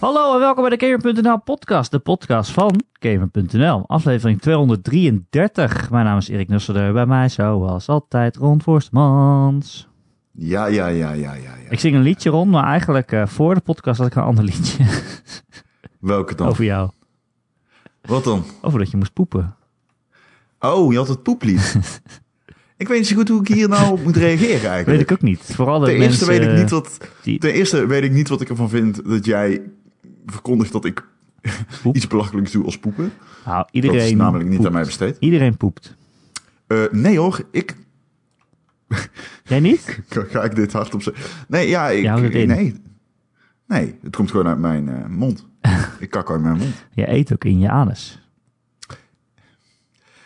Hallo en welkom bij de Gamer.nl podcast, de podcast van Gamer.nl, aflevering 233. Mijn naam is Erik Nusselder, bij mij zoals altijd Ron Voorstmans. Ja, ja, ja, ja, ja. ja. Ik zing een liedje rond, maar eigenlijk eh, voor de podcast had ik een ander liedje Welke dan? over jou. Wat dan? Over dat je moest poepen. Oh, je had het poeplied. ik weet niet zo goed hoe ik hier nou op moet reageren eigenlijk. Weet ik ook niet. Vooral de Ten eerste, mensen weet ik niet wat, die- ten eerste weet ik niet wat ik ervan vind dat jij verkondigt dat ik Poep. iets belachelijks doe als poepen. Nou, iedereen dat is namelijk niet poept. aan mij besteed. Iedereen poept. Eh, nee hoor, ik... Jij niet? Ga ik dit hardop zeggen? Nee, ja, ik... Je houdt het in. Nee. nee, het komt gewoon uit mijn eh, mond. ik kak uit mijn mond. Je eet ook in je anus.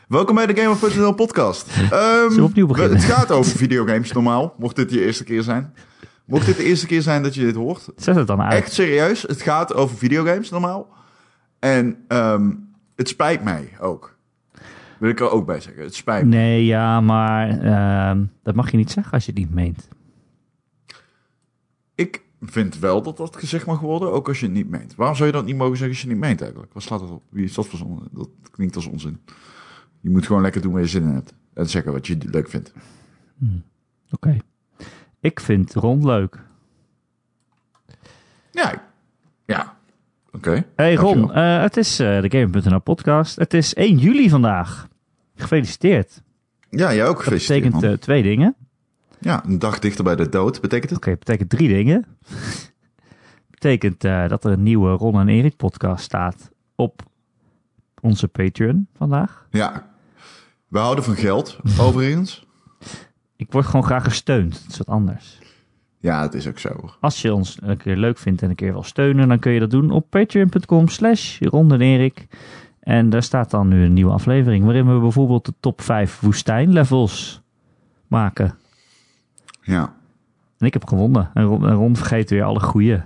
Welkom bij de Game of Nl podcast. Ehm, we opnieuw we- beginnen? Het gaat over videogames normaal, mocht dit je eerste keer zijn. Mocht dit de eerste keer zijn dat je dit hoort. Zet het dan uit. Echt serieus, het gaat over videogames normaal. En ehm, het spijt mij ook. Wil ik er ook bij zeggen, het spijt me. Nee, ja, maar ehm, dat mag je niet zeggen als je het niet meent. Ik vind wel dat dat gezegd mag worden, ook als je het niet meent. Waarom zou je dat niet mogen zeggen als je het niet meent eigenlijk? Wat slaat dat op? Wie is dat voor zon? Dat klinkt als onzin. Je moet gewoon lekker doen waar je zin in hebt. En zeggen wat je leuk vindt. Oké. Ik vind Ron leuk. Ja, ik- ja. Oké. Hey Ron, Dankjewel. eh, het is eh, de Gamer.nl podcast. Het is 1 juli vandaag. Gefeliciteerd. Ja, jij ook Dat gefeliciteerd, betekent man. eh, twee dingen. Oké, Ja, een dag dichter bij de dood betekent het. betekent drie dingen. betekent eh, dat er een nieuwe Ron en Erik podcast staat op onze Patreon vandaag. Ja. We houden van geld, overigens. Ik word gewoon graag gesteund. Dat is wat anders. Ja, het is ook zo. hoor. Als je ons een keer leuk vindt en een keer wil steunen, dan kun je dat doen op patreon.com slash Ron en Erik. En daar staat dan nu een nieuwe aflevering waarin we bijvoorbeeld de top 5 woestijnlevels maken. Ja. En ik heb gewonnen. En Ron, en Ron vergeet weer alle goeie.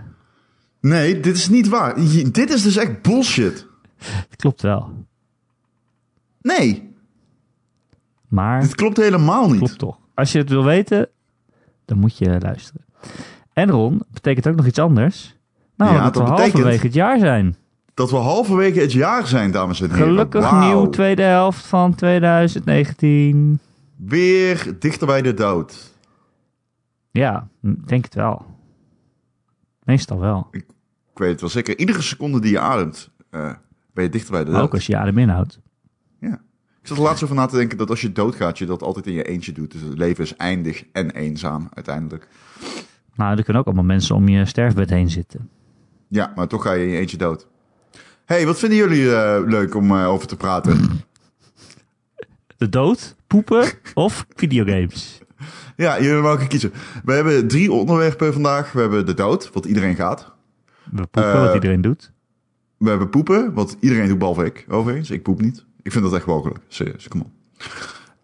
Nee, dit is niet waar. Je- dit is dus echt bullshit. Dat klopt wel. Nee, Maar dit het klopt helemaal niet. klopt toch. Als je het wil weten, dan moet je luisteren. En Ron, betekent ook nog iets anders. Nou, Ja, dat, dat we betekent- halverwege het jaar zijn. Dat we halverwege het jaar zijn, dames en heren. Gelukkig Wauw. nieuw tweede helft van 2019. Weer dichter bij de dood. Ja, ik denk het wel. Meestal wel. Ik weet het wel zeker. Iedere seconde die je ademt, eh, ben je dichter bij de dood. Ook als je adem inhoudt. Ja. Ik zat er laatst over na te denken dat als je doodgaat, je dat altijd in je eentje doet. Dus het leven is eindig en eenzaam uiteindelijk. Nou, er kunnen ook allemaal mensen om je sterfbed heen zitten. Ja, maar toch ga je in je eentje dood. hey, wat vinden jullie eh, leuk om eh, over te praten? De dood, poepen of videogames. ja, jullie mogen kiezen. We hebben drie onderwerpen vandaag. We hebben de dood, wat iedereen gaat. We poepen Eh, wat iedereen doet. We hebben poepen, wat iedereen doet behalve ik, overigens. Ik poep niet. Ik vind dat echt mogelijk. Serieus, kom op.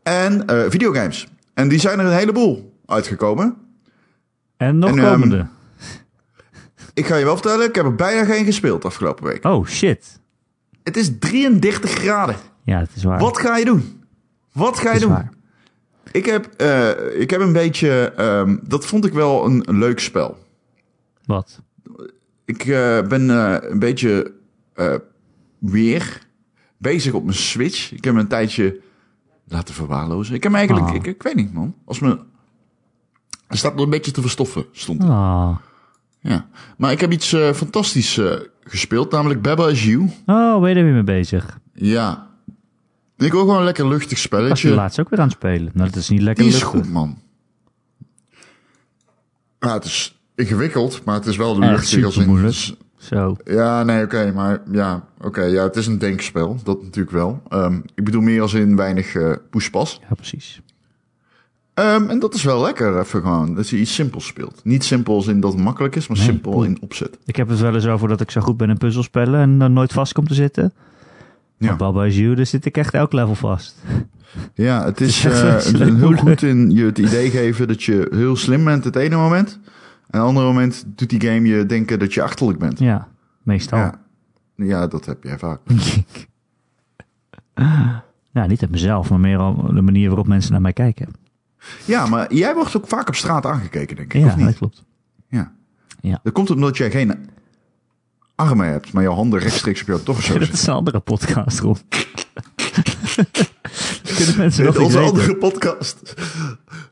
En eh, videogames. En die zijn er een heleboel uitgekomen. En nog en, ehm, komende. Ik ga je wel vertellen, ik heb er bijna geen gespeeld afgelopen week. Oh shit. Het is 33 graden. Ja, dat is waar. Wat ga je doen? Wat ga je dat is doen? waar. Ik heb, eh, ik heb een beetje. ehm, dat vond ik wel een, een leuk spel. Wat? Ik eh, ben eh, een beetje eh, weer bezig op mijn Switch. Ik heb hem een tijdje laten verwaarlozen. Ik heb hem eigenlijk. Ah. Ik, ik weet niet, man. Als mijn. Er staat nog een beetje te verstoffen, stond er. Oh. Ja. Maar ik heb iets eh, fantastisch eh, gespeeld, namelijk Baba is You. oh, ben je er weer mee bezig? Ja. Ik wil gewoon een lekker luchtig Was je spelletje. laatst ook weer aan het spelen? Nou, dat is niet lekker Die is luchtig. goed, man. Ja, het is ingewikkeld, maar het is wel Echt luchtig. als in- supermoeilijk. Zo. Ja, nee, oké, maar ja, oké, ja, het is een denkspel, dat natuurlijk wel. Ehm, ik bedoel meer als in weinig eh poespas. Ja, precies. Ehm, en dat is wel lekker, even gewoon, dat je iets simpels speelt. Niet simpel als in dat het makkelijk is, maar Nee, simpel poeh. in opzet. Ik heb het wel eens over dat ik zo goed ben in puzzelspellen en dan nooit vast kom te zitten. Ja. Maar Baba is you, daar zit ik echt elk level vast. Ja, het is, Het is echt eh, vreselijk heel moeilijk. goed in je het idee geven dat je heel slim bent het ene moment. En het andere moment doet die game je denken dat je achterlijk bent. Ja, meestal. Ja, ja dat heb jij vaak. nou, niet uit mezelf, maar meer om de manier waarop mensen naar mij kijken. Ja, maar jij wordt ook vaak op straat aangekeken, denk ik, ja, of niet? dat klopt. Ja. Ja. Dat komt omdat jij geen armen hebt, maar jouw handen rechtstreeks op jouw torso dat zitten. is een andere podcast, Ron. Kunnen mensen nog In iets onze weten? andere podcast.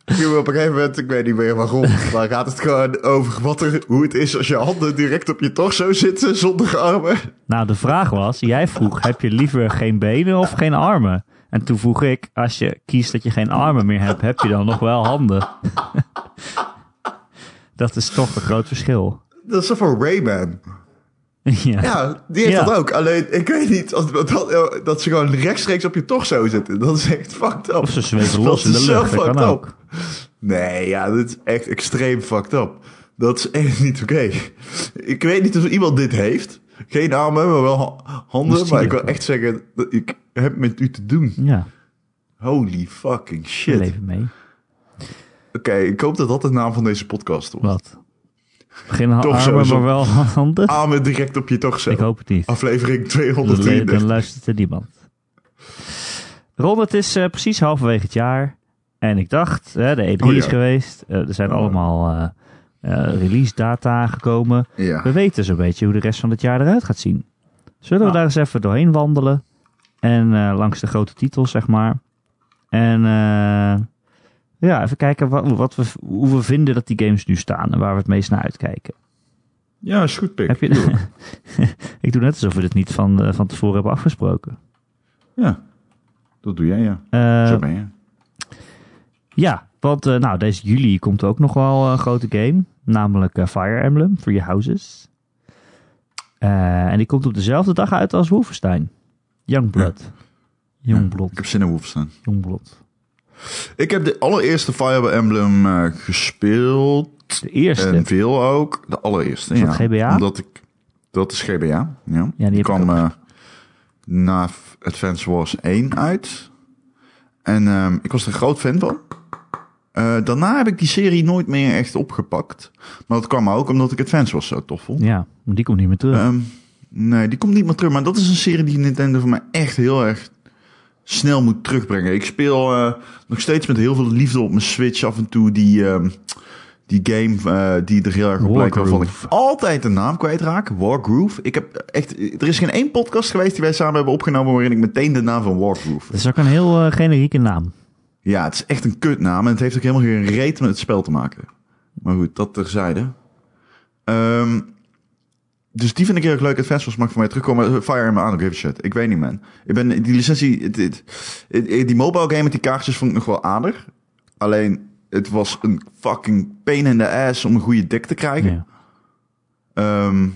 Gingen we op een gegeven moment, ik weet niet meer waarom, maar gaat het gewoon over wat er, hoe het is als je handen direct op je torso zitten zonder armen. Nou, de vraag was, jij vroeg, heb je liever geen benen of geen armen? En toen vroeg ik, als je kiest dat je geen armen meer hebt, heb je dan nog wel handen? dat is toch een groot verschil. Dat is toch van Rayman? ja. Ja, die heeft Ja. dat ook. Alleen, ik weet niet, als- dat, dat ze gewoon rechtstreeks op je torso zitten. Dat is echt fucked up. Of ze zweven Dat los in is de zo lucht, dat kan fucked up. ook. Nee, ja, dit is echt extreem fucked up. Dat is echt niet oké. Ik weet niet of iemand dit heeft. Geen armen, maar wel ha- handen. Misschien Maar ik wil ook. echt zeggen, dat ik heb met u te doen. Ja, Holy fucking we shit. Oké, leven mee. ik hoop dat dat de naam van deze podcast wordt. Wat? Geen Toch armen, sowieso. Ah. maar wel handen? Armen direct op je torso. Ik hoop het niet. Aflevering Dan, lu- dan 210. luistert er niemand. Ron, het is eh, precies halverwege het jaar. En ik dacht, hè, de E3 Oh ja. is geweest. eh, er zijn Oh. allemaal eh, eh, release data aangekomen. Ja. We weten zo'n beetje hoe de rest van het jaar eruit gaat zien. Zullen we Ah. daar eens even doorheen wandelen? En eh, langs de grote titels, zeg maar. En eh, ja, even kijken wat, wat we, hoe we vinden dat die games nu staan. En waar we het meest naar uitkijken. ja, is goed, Pik. Heb je... ik doe net alsof we dit niet van, eh, van tevoren hebben afgesproken. Ja, dat doe jij, ja. Eh, Zo ben je. ja, want eh, nou, deze juli komt ook nog wel een grote game. Namelijk eh, Fire Emblem, Free Houses. Eh, en die komt op dezelfde dag uit als Wolfenstein. Youngblood. Youngblood. Ik heb zin in Wolfenstein. Youngblood. Ik heb de allereerste Fire Emblem eh, gespeeld. De eerste. En veel ook. De allereerste, Is ja. dat GBA? Omdat ik... Dat is GBA, ja. heb ik kwam ook. eh, na F- Advance Wars 1 uit. En ehm, ik was er een groot fan van. Eh, daarna heb ik die serie nooit meer echt opgepakt. Maar dat kwam ook omdat ik Advance Wars zo tof vond. Ja, maar die komt niet meer terug. Ehm, nee, die komt niet meer terug. Maar dat is een serie die Nintendo voor mij echt heel erg snel moet terugbrengen. Ik speel eh, nog steeds met heel veel liefde op mijn Switch af en toe die, ehm, die game eh, die er heel erg op lijkt. Waarvan ik Wargroove. altijd de naam kwijtraak. Wargroove. Ik heb echt, er is geen één podcast geweest die wij samen hebben opgenomen waarin ik meteen de naam van Wargroove. Dat is ook een heel eh, generieke naam. Ja, het is echt een kutnaam en het heeft ook helemaal geen reet met het spel te maken. Maar goed, dat terzijde. Ehm dus die vind ik heel erg leuk. Advance Wars mag voor mij terugkomen. Eh, Fire Emblem aan, give a shit. Ik weet niet, man. Ik ben die licentie... het- het- het- die mobile game met die kaartjes vond ik nog wel aardig. Alleen, het was een fucking pain in the ass om een goede deck te krijgen. Ja. Ehm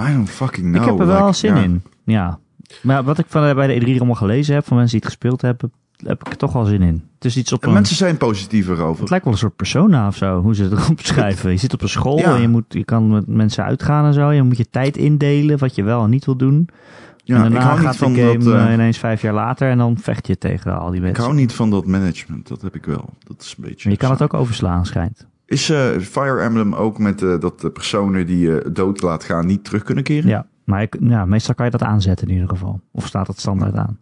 I don't fucking know. ik heb er wel Like, zin Oh, ja. in. Ja. Maar wat ik van, eh, bij de E3 allemaal gelezen heb, van mensen die het gespeeld hebben, heb ik er toch wel zin in. Het is iets op En een... mensen zijn positiever over. Het lijkt wel een soort persona of zo, hoe ze het erop schrijven. Je zit op een school Ja. en je, moet, je kan met mensen uitgaan en zo. Je moet je tijd indelen, wat je wel en niet wil doen. Ja, en daarna ik hou niet gaat van de game dat... eh, eh, ineens vijf jaar later en dan vecht je tegen al die Ik mensen. hou niet van dat management, dat heb ik wel. Dat is een beetje. Maar je kan het ook overslaan, schijnt. Is eh, Fire Emblem ook met eh, dat de personen die je dood laat gaan niet terug kunnen keren? Ja, maar je- ja, meestal kan je dat aanzetten in ieder geval. Of staat dat standaard aan.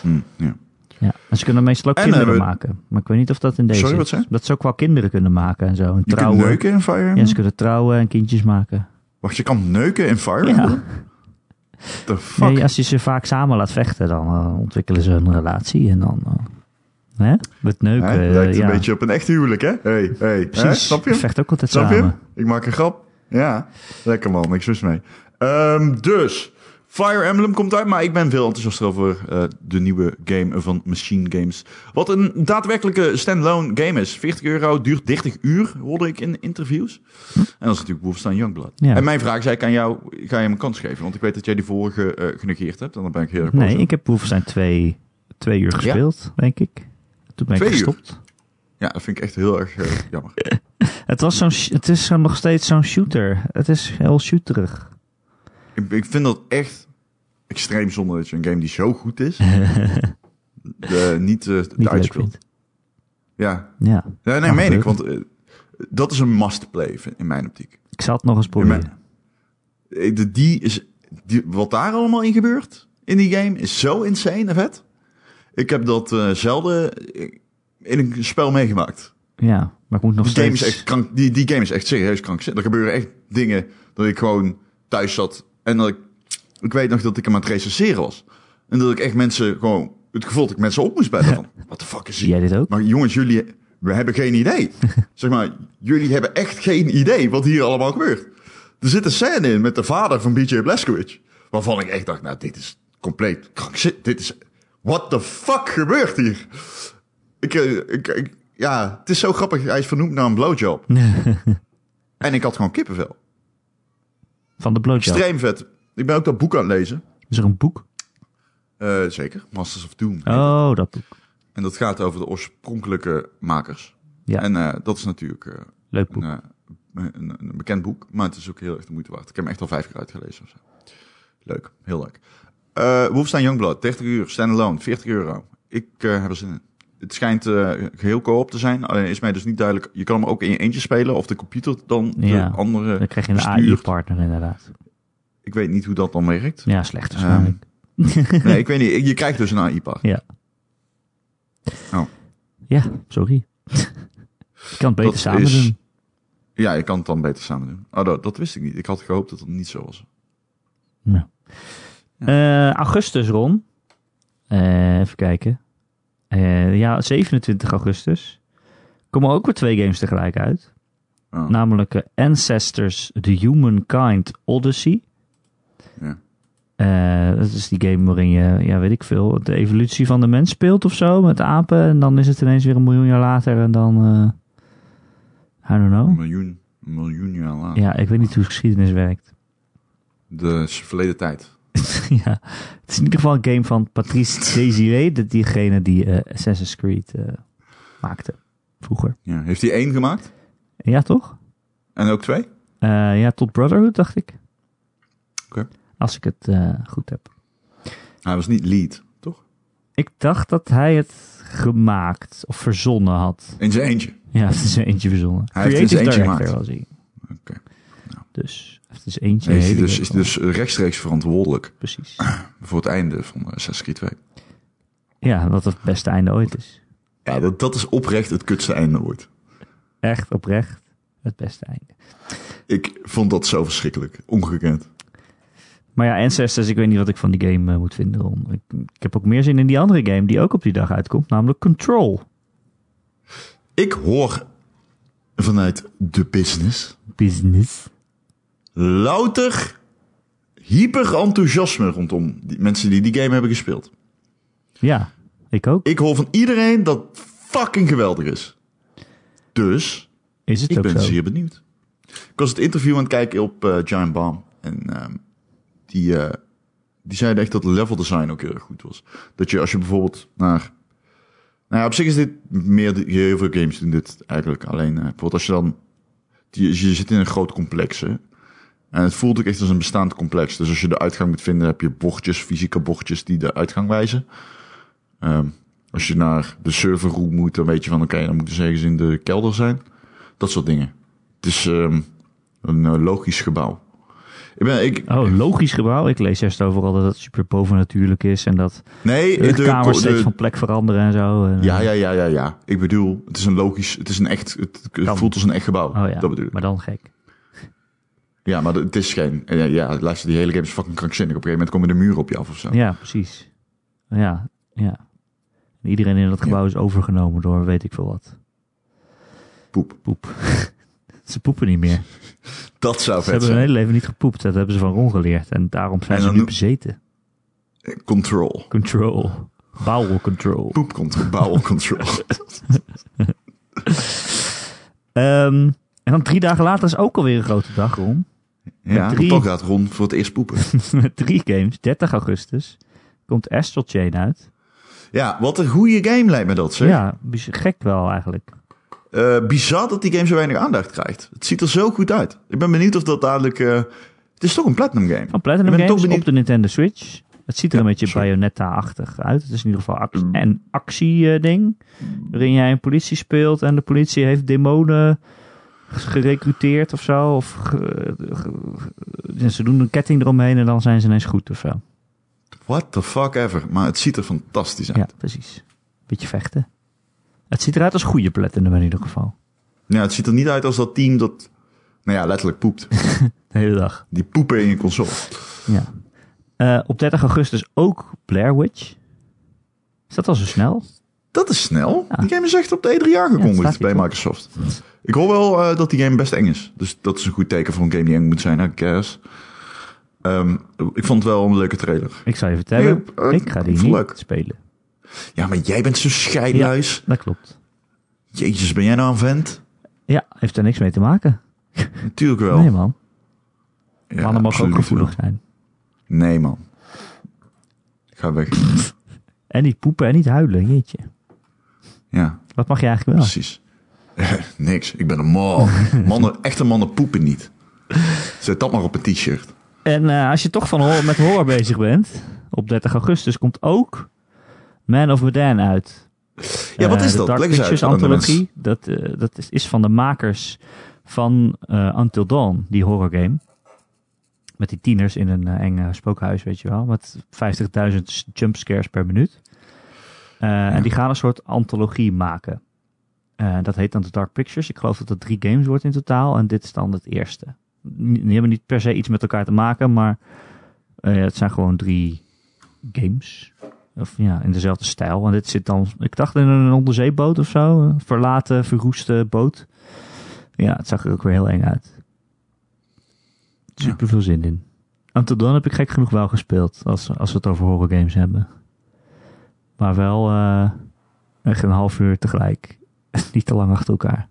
Hm, ja. Ja. En ze kunnen meestal ook En, kinderen eh, we- maken. Maar ik weet niet of dat in deze Sorry, is. wat zei je? Dat ze ook wel kinderen kunnen maken en zo. En Je trouwen. kunt neuken in Fire Emblem? Ja, ze kunnen trouwen en kindjes maken. Wacht, je kan neuken in Fire Emblem? Ja. The fuck? Nee, als je ze vaak samen laat vechten, dan eh, ontwikkelen ze een relatie en dan. eh, hè? Met neuken. Hè? eh, lijkt ja. een beetje op een echt huwelijk, hè? Hey, hey. Hè? Precies. Snap je? Vecht ook altijd Snap je? samen. Ik maak een grap. Ja, lekker man, niks mis mee. Ehm, dus, Fire Emblem komt uit, maar ik ben veel enthousiaster over eh, de nieuwe game van Machine Games. Wat een daadwerkelijke standalone game is. 40 euro, duurt 30 uur, hoorde ik in interviews. En dat is natuurlijk Wolfenstein Youngblood. Hm. Ja. En mijn vraag zei ik aan jou, ga je hem een kans geven? Want ik weet dat jij die vorige eh, genegeerd hebt en dan ben ik heel erg boos. Nee, op. ik heb Wolfenstein twee, twee uur gespeeld, denk ik. Toen ben Twee ik uur? gestopt. Ja, dat vind ik echt heel erg eh, jammer. Het, was zo'n, sh- het is zo nog steeds zo'n shooter. Het is heel shooterig. Ik, ik vind dat echt extreem zonde dat je een game die zo goed is, eh, niet, eh Niet leuk uitspeelt. vindt. Ja, Ja, nee, nee Kan meen ik, gebeuren. want eh, dat is een must-play vind- in mijn optiek. ik zal het nog eens In proberen. mijn, Eh, de- die is, die, wat daar allemaal in gebeurt in die game is zo insane en vet. Ik heb dat eh, zelden eh, in een spel meegemaakt. Ja, maar ik moet nog Die game, steeds... is echt krank, die, die game is echt serieus krankzinnig. Er gebeuren echt dingen dat ik gewoon thuis zat. En dat ik, ik weet nog dat ik hem aan het recenseren was. En dat ik echt mensen gewoon, het gevoel dat ik mensen op moest bellen. Van, wat de fuck is Zie hier? jij dit ook? Maar jongens, jullie, we hebben geen idee. zeg maar, jullie hebben echt geen idee wat hier allemaal gebeurt. Er zit een scène in met de vader van BJ Blazkowicz. Waarvan ik echt dacht, nou, dit is compleet krankzinnig. Dit is, what the fuck gebeurt hier? Ik, eh, ik, ik- ja, het is zo grappig. Hij is vernoemd naar een blowjob. en ik had gewoon kippenvel. Van de blowjob. Extreem vet. Ik ben ook dat boek aan het lezen. Is er een boek? Eh, zeker. Masters of Doom. Oh, dat boek. En dat gaat over de oorspronkelijke makers. Ja. En eh, dat is natuurlijk eh, Leuk een, boek. eh, een, een bekend boek, maar het is ook heel erg de moeite waard. Ik heb hem echt al vijf keer uitgelezen. Of zo. Leuk, heel leuk. Eh Wolfenstein Youngblood, 30 uur, standalone, 40 euro. Ik eh, heb er zin in. Het schijnt eh, geheel co-op te zijn, alleen is mij dus niet duidelijk. Je kan hem ook in je eentje spelen of de computer dan de Ja. andere. Dan krijg je een bestuurd. AI-partner inderdaad. Ik weet niet hoe dat dan werkt. Ja, slecht dus, waarschijnlijk. Nee, ik weet niet. Je krijgt dus een AI-part. Ja. Oh. Ja, sorry. ik kan het beter Dat samen is- doen. Ja, je kan het dan beter samen doen. Oh, dat, dat wist ik niet. Ik had gehoopt dat het niet zo was. Nou. Eh, augustus, Ron. Eh, even kijken. Eh, ja, 27 augustus. Komen ook weer twee games tegelijk uit. Oh, Namelijk eh, Ancestors The Humankind Odyssey. ja. Eh, dat is die game waarin je, ja, weet ik veel, de evolutie van de mens speelt of zo. Met apen. En dan is het ineens weer een miljoen jaar later. En dan. eh I don't Een know. miljoen, een miljoen jaar later. Ja, ik weet niet hoe geschiedenis werkt. De s- verleden tijd. ja, het is in ieder geval een game van Patrice Desiré, de- diegene die eh, Assassin's Creed eh, maakte vroeger. Ja. Heeft hij één gemaakt? Ja, toch? En ook twee? Eh, ja, tot Brotherhood, dacht ik. Oké. Als ik het eh, goed heb. Hij was niet lead, toch? Ik dacht dat hij het gemaakt of verzonnen had. In zijn eentje. Ja, het is er eentje verzonnen. Hij heeft het in zijn eentje gemaakt. was hij. Oké. Dus, het is eentje. Heeft hij hele dus, game is van. dus rechtstreeks verantwoordelijk Precies. voor het einde van eh, Assassin's Creed 2. Ja, wat het beste einde ooit is. Ja, dat, dat is oprecht het kutste einde ooit. Echt oprecht het beste einde. Ik vond dat zo verschrikkelijk. Ongekend. Maar ja, Ancestors, ik weet niet wat ik van die game eh, moet vinden. Ron. Ik, ik heb ook meer zin in die andere game die ook op die dag uitkomt, namelijk Control. Ik hoor vanuit de business Business. louter hyper enthousiasme rondom die mensen die die game hebben gespeeld. Ja, ik ook. Ik hoor van iedereen dat het fucking geweldig is. Dus Is het Ik ook ben zo? zeer benieuwd. Ik was het interview aan het kijken op eh Giant Bomb. En ehm, die, eh, die zeiden echt dat het level design ook heel erg goed was. Dat je als je bijvoorbeeld naar... Nou ja, op zich is dit meer... de- Heel veel games doen dit eigenlijk. Alleen eh, bijvoorbeeld als je dan... Je, je zit in een groot complex, hè. En het voelt ook echt als een bestaand complex. Dus als je de uitgang moet vinden, heb je bochtjes, fysieke bochtjes die de uitgang wijzen. Ehm, als je naar de serverroom moet, dan weet je van oké, dan moeten ze ergens in de kelder zijn. Dat soort dingen. Het is ehm, een eh, logisch gebouw. Ik ben, ik, Oh, logisch gebouw. Ik lees juist overal dat het super bovennatuurlijk is en dat nee, de, de- kamers de- steeds van plek veranderen en zo. eh. En, ja, ja, ja, ja, ja. Ik bedoel, het is een logisch, het is een echt, het, het Kan. voelt als een echt gebouw. Oh ja, Dat bedoel ik. maar dan gek. Ja, maar het is geen, eh, ja, ja, luister, die hele game is fucking krankzinnig. Op een gegeven moment komen de muren op je af of zo. Ja, precies. Ja, ja. Iedereen in dat gebouw is overgenomen door weet ik veel wat. Poep. Poep. Ze poepen niet meer. Dat zou Ze vet hebben hun zijn. hele leven niet gepoept. Dat hebben ze van Ron geleerd. En daarom zijn En ze dan nu noem- bezeten. Control. Control. Bowel control. Poepcontrol, bowel control. Ehm, en dan drie dagen later is ook alweer een grote dag, Ron. ja, Met drie. toch gaat Ron voor het eerst poepen. Met drie games. 30 augustus komt Astral Chain uit. Ja, wat een goede game lijkt me dat, zeg. Ja, bijz- gek wel eigenlijk. Eh, bizar dat die game zo weinig aandacht krijgt. Het ziet er zo goed uit. Ik ben benieuwd of dat dadelijk... eh, het is toch een Platinum game. Van Ik Platinum ben toch Games benieuwd- op de Nintendo Switch. Het ziet er Ja, een beetje sorry. Mm. Bayonetta-achtig uit. Het is in ieder geval ac- een actie-ding. waarin jij een politie speelt en de politie heeft demonen gerecruiteerd of zo. Of ge- ge- ge- ze doen een ketting eromheen en dan zijn ze ineens goed of zo. What the fuck ever. Maar het ziet er fantastisch uit. Ja, precies. Beetje vechten. Het ziet eruit als goede platinum in ieder geval. Ja, Nou, het ziet er niet uit als dat team dat, nou ja, letterlijk poept. De hele dag. Die poepen in je console. Ja. Eh, op 30 augustus ook Blair Witch. Is dat al zo snel? Dat is snel. Ja. Die game is echt op de E3 Ja, aangekondigd staat hier bij Microsoft. Ik hoor wel eh, dat die game best eng is. Dus dat is een goed teken voor een game die eng moet zijn, I guess. Ehm, ik vond het wel een leuke trailer. Ik zou je vertellen, Nee, eh, ik ga die ik niet vond het leuk. spelen. Ja, maar jij bent zo scheidluis. Dat klopt. Jezus, ben jij nou een vent? Ja, heeft er niks mee te maken. Natuurlijk wel. Nee man, Ja, mannen mogen ook absoluut gevoelig zijn. wel. Nee, man. Ik ga weg. En niet poepen en niet huilen, jeetje. Ja, Wat mag je eigenlijk wel? precies. Niks. Ik ben een man. Mannen, echte mannen poepen niet. Zet dat maar op een t-shirt. En eh, als je toch van horror, met horror bezig bent, op 30 augustus komt ook Man of Medan uit. Ja, wat Eh, is de dat? Dark Leg eens uit Pictures aan de Anthology. Dat, eh, dat is, is van de makers van eh, Until Dawn, die horror game. Met die tieners in een eh, enge spookhuis, weet je wel. Met 50.000 s- jumpscares per minuut. Eh, En die gaan een soort antologie maken. Eh, dat heet dan The Dark Pictures. Ik geloof dat dat drie games wordt in totaal. En dit is dan het eerste. N- Die hebben niet per se iets met elkaar te maken, maar eh, het zijn gewoon drie games. Of ja, in dezelfde stijl. En dit zit dan, ik dacht in een onderzeeboot of zo. Een verlaten, verroeste boot. Ja, het zag er ook weer heel eng uit. Super veel zin in. Until Dawn heb ik gek genoeg wel gespeeld. Als, als we het over horror games hebben. Maar wel eh, echt een half uur tegelijk. Niet te lang achter elkaar.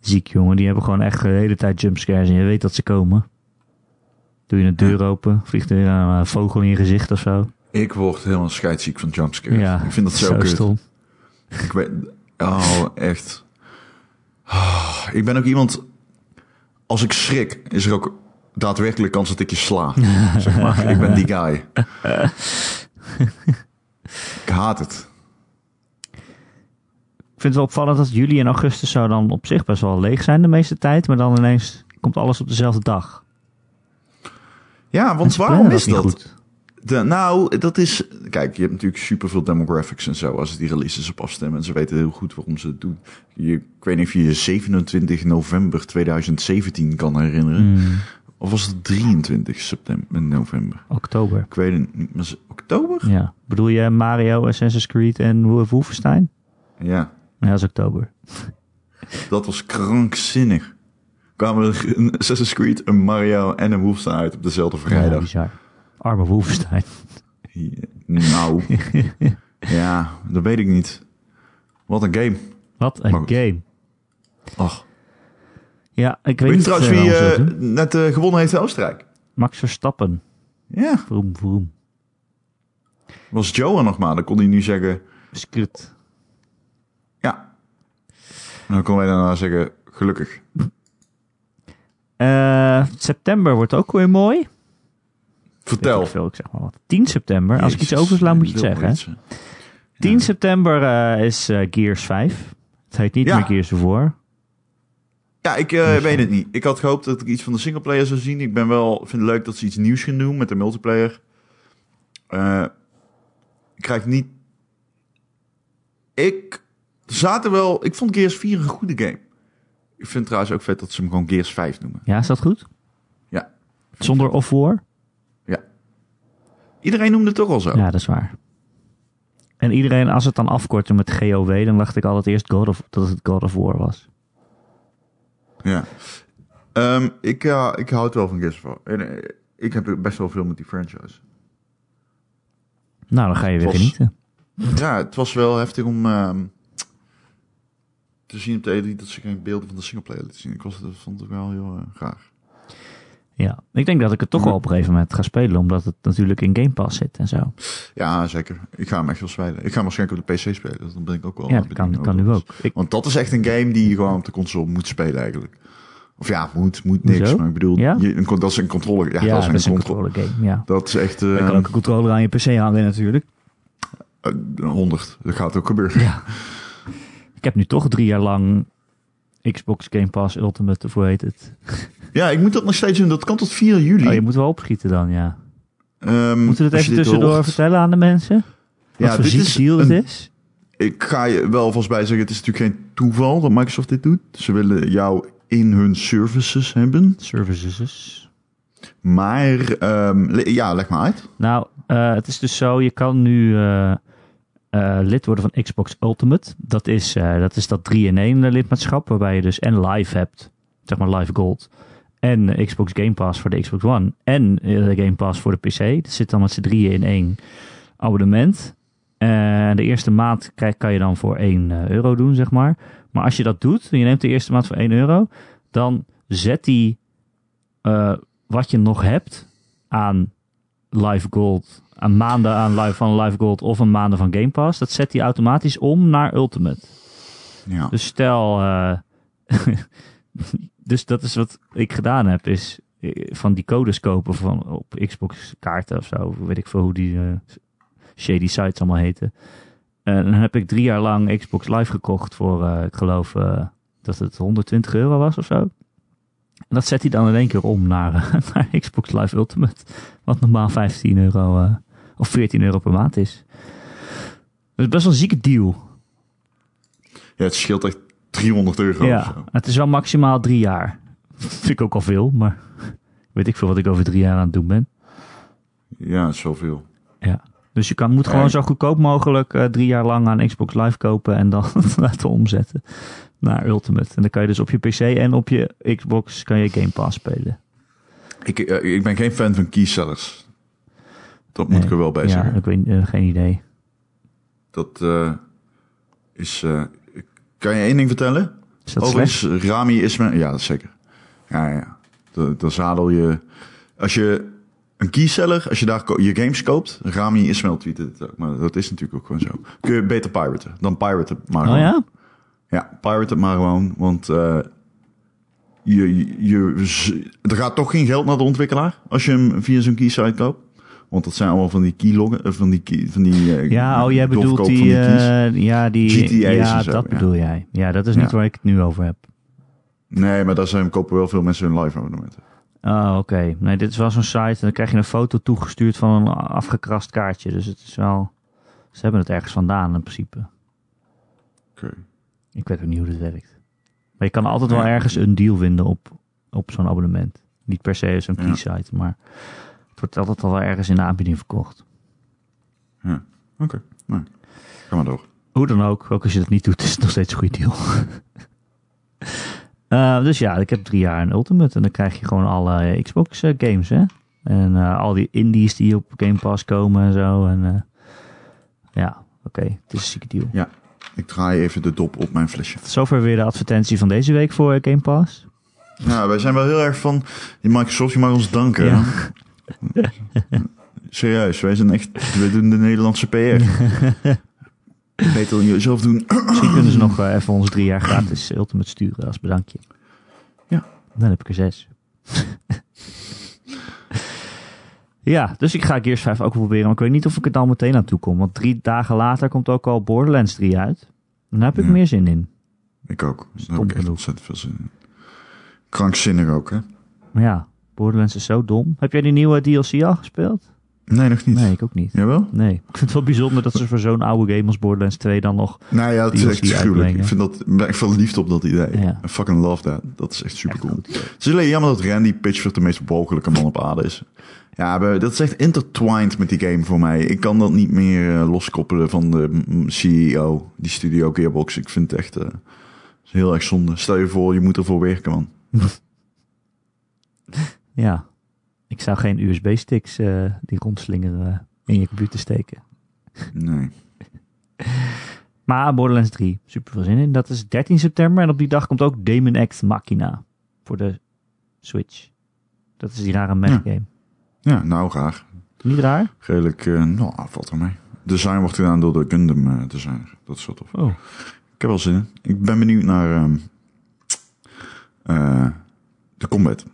Ziek jongen, die hebben gewoon echt de hele tijd jumpscares. En je weet dat ze komen. Doe je een deur open, vliegt er weer een eh, vogel in je gezicht of zo. Ik word helemaal scheidsziek van jumpscares. Ja, ik vind dat zo, kut. stom. Ik weet, oh, echt. Ah, Ik ben ook iemand... Als ik schrik, is er ook daadwerkelijk kans dat ik je sla. zeg maar, ik ben die guy. ik haat het. Ik vind het wel opvallend dat juli en augustus zou dan op zich best wel leeg zijn de meeste tijd. Maar dan ineens komt alles op dezelfde dag. Ja, En want ze waarom plannen is niet dat? goed. De, nou, dat is. Kijk, je hebt natuurlijk superveel demographics en zo. Als ze die releases op afstemmen. En ze weten heel goed waarom ze het doen. Je, ik weet niet of je je 27 november 2017 kan herinneren. Mm, Of was het 23 september, november? oktober. Ik weet het niet. Was het oktober? Ja. Bedoel je Mario, Assassin's Creed en Wolf Wolfenstein? Ja, Ja, dat is oktober. dat was krankzinnig. Kwamen er een Assassin's Creed, een Mario en een Wolfenstein uit op dezelfde Ja, vrijdag. bizar. Arme Wolfenstein. Nou, ja, dat weet ik niet. Wat een game. Wat een Maar goed. game. Ach. Ja, ik weet Weet je niet trouwens eh, wie waarom ze dat eh, doen. net eh, gewonnen heeft in Oostenrijk? Max Verstappen. Ja, Vroom, vroom. was Joe er nog maar. Dan kon hij nu zeggen, Skut. ja. En dan kon wij daarna zeggen, gelukkig. Eh, september wordt ook weer mooi. Weet Vertel. ik veel, ik zeg maar wat. 10 september. Als ik iets Jezus, oversla, moet je het lul, zeggen. hè. iets, hè. 10 september eh, is eh, Gears 5. Het heet niet Ja. meer Gears of War. Ja, ik eh, weet het niet. Ik had gehoopt dat ik iets van de singleplayer zou zien. Ik ben wel, vind het leuk dat ze iets nieuws gaan doen met de multiplayer. Eh, ik krijg niet... Ik zaten wel... Ik vond Gears 4 een goede game. Ik vind trouwens ook vet dat ze hem gewoon Gears 5 noemen. Ja, is dat goed? Ja. Zonder of War? Ja. Iedereen noemde het toch al zo. Ja, dat is waar. En iedereen, als het dan afkortte met GOW, dan dacht ik altijd eerst God of, dat het God of War was. Ja. Ehm, ik, ja, ik houd wel van Gears of War. En, eh, ik heb best wel veel met die franchise. Nou, dan ga je weer Het was- genieten. Ja, het was wel heftig om ehm, te zien op de E3 dat ze geen beelden van de singleplayer lieten zien. Ik was, dat vond ik wel heel eh, graag. Ja. Ik denk dat ik het toch Hm. wel op een gegeven moment ga spelen, omdat het natuurlijk in Game Pass zit en Oh, zo. Ja, zeker. Ik ga hem echt wel spelen. Ik ga hem waarschijnlijk op de PC spelen. Dus dan ben ik ook wel. Ja, dat kan, kan nu ook. Ik, Want dat is echt een game die je gewoon op de console moet spelen eigenlijk. Of ja, moet, moet niks. Hoezo? Maar ik bedoel, Ja? je, een, con- dat is een controller. Ja, ja, dat is een, controller. controller game. Ja. Dat is echt Je eh kan ook een controller aan je PC hangen natuurlijk. eh, 100. Dat gaat ook gebeuren. Ja. Ik heb nu toch drie jaar lang Xbox Game Pass Ultimate, of hoe heet het? Ja, ik moet dat nog steeds doen. Dat kan tot 4 juli. Oh, je moet wel opschieten dan, ja. Ehm, Moeten we het als je even dit tussendoor hoort. vertellen aan de mensen? Wat Ja, voor dit ziek is deal een- het is? ik ga je wel vast bij zeggen, het is natuurlijk geen toeval dat Microsoft dit doet. Ze willen jou in hun services hebben. Services. Maar ehm, le- ja, leg maar uit. Nou, eh, het is dus zo, je kan nu eh, eh, lid worden van Xbox Ultimate. Dat is, eh, dat is dat 3-in-1 lidmaatschap, waarbij je dus en live hebt, zeg maar live gold. En eh, Xbox Game Pass voor de Xbox One. En eh, de Game Pass voor de PC. Dat zit dan met z'n drieën in één abonnement. Eh, En de eerste maand krijg, kan je dan voor 1 eh, euro doen, zeg maar. Maar als je dat doet, en je neemt de eerste maand voor 1 euro, dan zet die eh, wat je nog hebt aan Live Gold, een maanden aan live, van Live Gold of een maanden van Game Pass, dat zet hij automatisch om naar Ultimate. Ja. Dus stel, eh, dus dat is wat ik gedaan heb, is eh, van die codes kopen van op Xbox kaarten of zo, weet ik veel hoe die eh, shady sites allemaal heten. En dan heb ik drie jaar lang Xbox Live gekocht voor, eh, ik geloof eh, dat het 120 euro was of zo. En dat zet hij dan in één keer om naar, eh, naar Xbox Live Ultimate. Wat normaal 15 euro eh, of 14 euro per maand is. Dat is best wel een zieke deal. ja, het scheelt echt 300 euro of Ja, zo. het is wel maximaal drie jaar. Vind ik ook al veel, maar weet ik veel wat ik over drie jaar aan het doen ben. Ja, zoveel. Dus je kan, moet gewoon zo goedkoop mogelijk eh, drie jaar lang aan Xbox Live kopen en dan laten omzetten naar Ultimate. En dan kan je dus op je PC en op je Xbox kan je Game Pass spelen. Ik, eh, ik ben geen fan van keycellers. Dat moet Nee. ik er wel bij ja, zeggen. ik weet eh, geen idee. Dat eh, is... eh, kan je één ding vertellen? Is dat slecht? Overigens, Rami Oh, is mijn... Ja, dat zeker. Ja, ja, ja. Dan- Dan zadel je... Als je een keyseller, als je daar ko- je games koopt... Rami Ismail tweette het ook, maar dat is natuurlijk ook gewoon zo. Kun je beter piraten dan piraten maar Oh gewoon. ja? Ja, pirate het maar gewoon, want eh, je, je, je z- er gaat toch geen geld naar de ontwikkelaar als je hem via zo'n keysite koopt. Want dat zijn allemaal van die keyloggen, eh, van die, key, van die eh, Ja, oh, jij doorverkoop bedoelt van die, keys. eh, ja, die GTA's Ja, en zo, dat ja. bedoel jij. Ja, dat is niet Ja. waar ik het nu over heb. Nee, maar daar zijn, kopen wel veel mensen hun live abonnementen. Oh, oké. Nee, dit is wel zo'n site en dan krijg je een foto toegestuurd van een afgekrast kaartje. Dus het is wel... Ze hebben het ergens vandaan in principe. Oké. Ik weet ook niet hoe dat werkt. Maar je kan altijd wel Ja. ergens een deal vinden op, op zo'n abonnement. Niet per se zo'n Ja. key site, maar het wordt altijd al wel ergens in de aanbieding verkocht. Ja, oké. Nou, ga maar door. Hoe dan ook, ook als je dat niet doet, is het nog steeds een goede deal. Eh, dus ja, ik heb drie jaar een Ultimate en dan krijg je gewoon alle eh, Xbox eh, games, hè? En eh, al die indies die op Game Pass komen en zo. En, eh, ja, oké, het is een zieke deal. Ja, ik draai even de dop op mijn flesje. Tot zover weer de advertentie van deze week voor eh, Game Pass. Nou, wij zijn wel heel erg van... Die Microsoft, je mag ons danken. Ja. Serieus, wij zijn echt... We doen de Nederlandse PR. Beter dan jullie zelf doen. Misschien kunnen ze nog eh, even ons drie jaar gratis Ultimate sturen als bedankje. Ja. Dan heb ik er zes. ja, dus ik ga Gears 5 ook wel proberen. Maar ik weet niet of ik er dan meteen aan toe kom. Want drie dagen later komt ook al Borderlands 3 uit. En daar heb ik Ja. meer zin in. Ik ook. Daar Stom heb ik echt genoeg. ontzettend veel zin in. Krankzinnig ook, hè? Maar ja, Borderlands is zo dom. Heb jij die nieuwe DLC al gespeeld? Nee, nog niet. Nee, ik ook niet. Jawel? Nee, ik vind het wel bijzonder dat ze voor zo'n oude game als Borderlands 2 dan nog Nou ja, het is Die echt wil ze gruwelijk. Ik uitbrengen. vind dat... Ik ben echt verliefd op dat idee. Ja. I fucking love that. Dat is echt super echt cool. goed idee. Het is alleen jammer dat Randy Pitchford de meest walgelijke man op aarde is. Ja, we- dat is echt intertwined met die game voor mij. Ik kan dat niet meer eh, loskoppelen van de mm, CEO, die studio Gearbox. Ik vind het echt eh, is heel erg zonde. Stel je voor, je moet ervoor werken, man. Ja, ik zou geen USB-sticks eh, die rondslingeren eh, in je computer steken. Nee. Maar Borderlands 3, super veel zin in. Dat is 13 september en op die dag komt ook Demon X Machina voor de Switch. Dat is die rare mech game. Ja, nou graag. Niet raar? Redelijk, eh, nou, valt er mee. Design wordt gedaan door de Gundam eh, designer. Dat is wel tof. Oh. Ik heb wel zin in. Ik ben benieuwd naar ehm, eh, de combat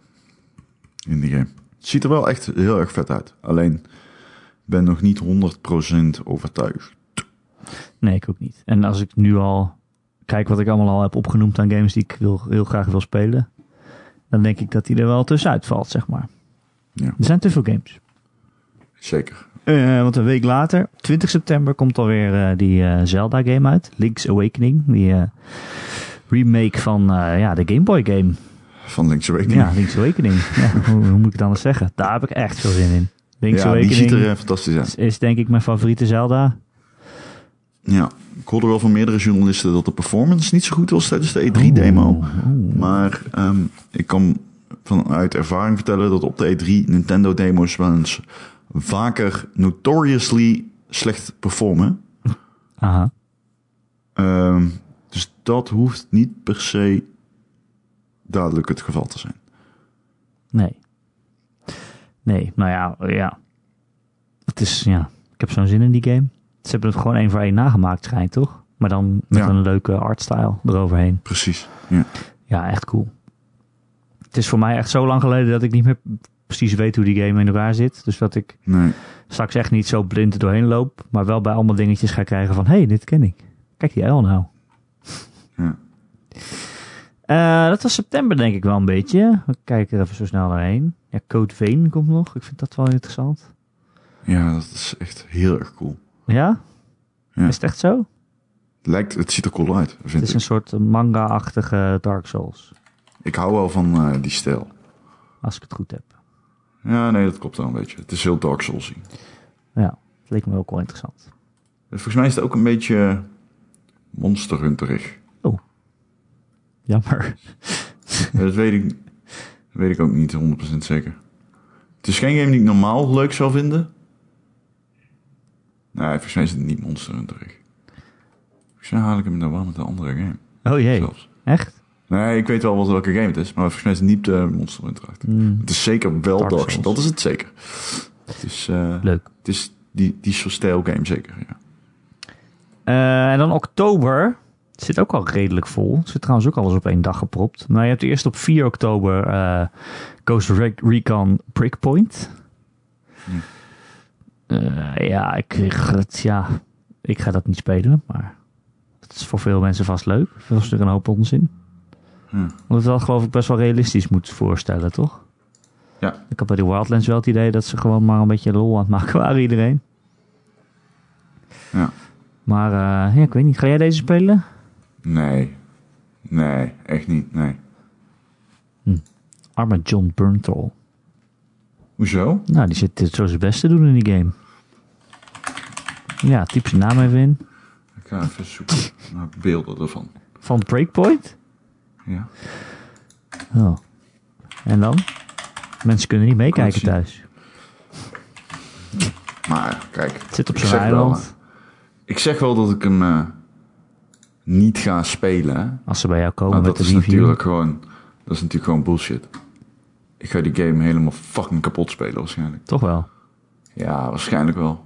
in die game. Het ziet er wel echt heel erg vet uit. Alleen ik ben nog niet 100% overtuigd. Nee, ik ook niet. En als ik nu al kijk wat ik allemaal al heb opgenoemd aan games die ik wil, heel graag wil spelen, dan denk ik dat die er wel tussenuit valt, zeg maar. Ja. Er zijn te veel games. Zeker. Eh, want een week later, 20 september, komt alweer eh, die eh, Zelda-game uit. Link's Awakening. Die eh, remake van eh, ja, de Game Boy game. Van Link's Awakening. Ja, Link's Awakening. ja, hoe, hoe moet ik het anders zeggen? Daar heb ik echt veel zin in. Link's Ja, die Awakening ziet er eh, fantastisch uit. is, is denk ik mijn favoriete Zelda. Ja, ik hoorde wel van meerdere journalisten dat de performance niet zo goed was tijdens de E E3-demo. Oh, oh. Maar ehm, ik kan vanuit ervaring vertellen dat op de E E3 Nintendo-demo's wel eens vaker notoriously slecht performen. Aha. Ehm, dus dat hoeft niet per se duidelijk het geval te zijn. Nee. Nee, nou ja, eh, ja. Het is, ja, ik heb zo'n zin in die game. Ze hebben het gewoon één voor één nagemaakt, schijnt toch? Maar dan met Ja. een leuke artstyle eroverheen. Precies. Ja. Ja, echt cool. Het is voor mij echt zo lang geleden dat ik niet meer precies weet hoe die game in elkaar zit. Dus dat ik Nee. straks echt niet zo blind er doorheen loop. Maar wel bij allemaal dingetjes ga krijgen van... Hé, hey, dit ken ik. Kijk die L nou. Ja. Eh, dat was september denk ik wel een beetje. We kijken er even zo snel doorheen. Ja, Code Vein komt nog. Ik vind dat wel interessant. ja, dat is echt heel erg cool. Ja? Ja. Is het echt zo? Het Lijkt, het ziet er cool uit, Het vind is ik. een soort manga-achtige Dark Souls. Ik hou wel van eh, die stijl. Als ik het goed heb. Ja, nee, dat klopt wel een beetje. Het is heel Dark Soulsy. Ja, het leek me ook wel interessant. Volgens mij is het ook een beetje Monster Hunterig. Jammer. Ja, dat weet ik, dat weet ik ook niet 100% zeker. Het is geen game die ik normaal leuk zou vinden. Nee, volgens mij is het niet Monster Hunterig. Volgens mij haal ik hem nou wel met een andere game. Oh jee, Zelfs. echt? Nee, ik weet wel wat welke game het is, maar volgens mij is het niet eh, Monster Hunter. Mm, Het is zeker wel Dark Dark Souls. Souls. Dat is het zeker. Het is, eh, leuk. het is die, die soort stijl game zeker, ja. Eh, en dan oktober. Het zit ook al redelijk vol. Het zit trouwens ook alles op één dag gepropt. Nou, je hebt eerst op 4 oktober eh Ghost Re- Recon Breakpoint. Eh, ja, ik, ik- het, ja, ik ga dat niet spelen, maar het is voor veel mensen vast leuk. Veel is er een hoop onzin. Ja. Omdat het wel geloof ik best wel realistisch moet voorstellen, toch? Ja. Ik had bij de Wildlands wel het idee dat ze gewoon maar een beetje lol aan het maken waren, iedereen. Ja. Maar eh, ja, ik weet niet, ga jij deze spelen? Nee. Nee, echt niet, nee. Arme John Burnthal. Hoezo? Nou, die zit het zo zijn best te doen in die game. Ja, typ zijn naam even in. Ik ga even zoeken naar beelden ervan. Van Breakpoint? Ja. Oh. En dan? Mensen kunnen niet meekijken Kan het thuis. Maar kijk, Het zit op Ik zo'n zeg wel, eh, eiland. ik zeg wel dat ik hem eh, niet ga spelen. Hè? Als ze bij jou komen Maar met Nou, dat de is review. natuurlijk gewoon, dat is natuurlijk gewoon bullshit. Ik ga die game helemaal fucking kapot spelen waarschijnlijk. Toch wel. Ja, waarschijnlijk wel.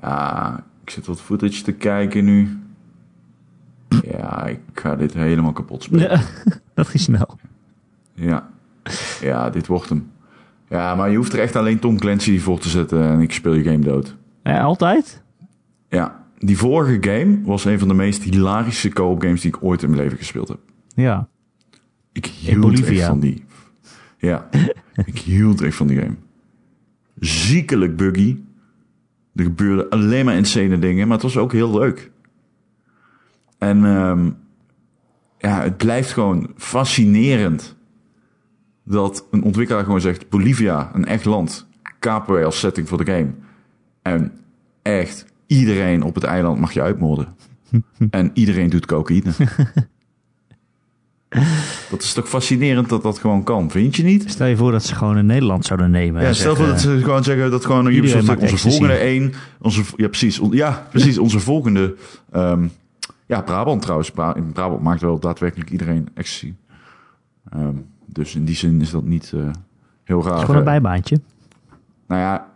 Ja, ik zit wat footage te kijken nu. Ja, ik ga dit helemaal kapot spelen. Ja, dat ging snel. Ja. Ja, dit wordt hem. Ja, maar je hoeft er echt alleen Tom Clancy voor te zetten en ik speel je game dood. Ja, altijd? Ja, die vorige game was een van de meest hilarische co-op games die ik ooit in mijn leven gespeeld heb. Ja. Ik hield Bolivia. echt van die. Ja, ik hield echt van die game. Ziekelijk buggy. Er gebeurden alleen maar insane dingen, maar het was ook heel leuk. En ehm, ja, het blijft gewoon fascinerend dat een ontwikkelaar gewoon zegt: Bolivia, een echt land, kapen wij als setting voor de game. En echt iedereen op het eiland mag je uitmoorden. en iedereen doet cocaïne. Dat is toch fascinerend dat dat gewoon kan, vind je niet? Stel je voor dat ze gewoon in Nederland zouden nemen. Ja, en stel voor zeggen, dat ze gewoon zeggen dat gewoon eh, Iedereen Ubisoft maakt onze ecstasy. volgende één, onze ja precies, on- ja precies onze volgende, ehm, ja Brabant trouwens, Bra- in Brabant maakt wel daadwerkelijk iedereen ecstasy. Ehm, dus in die zin is dat niet eh, heel raar. Het is gewoon een Eh, bijbaantje. Nou ja,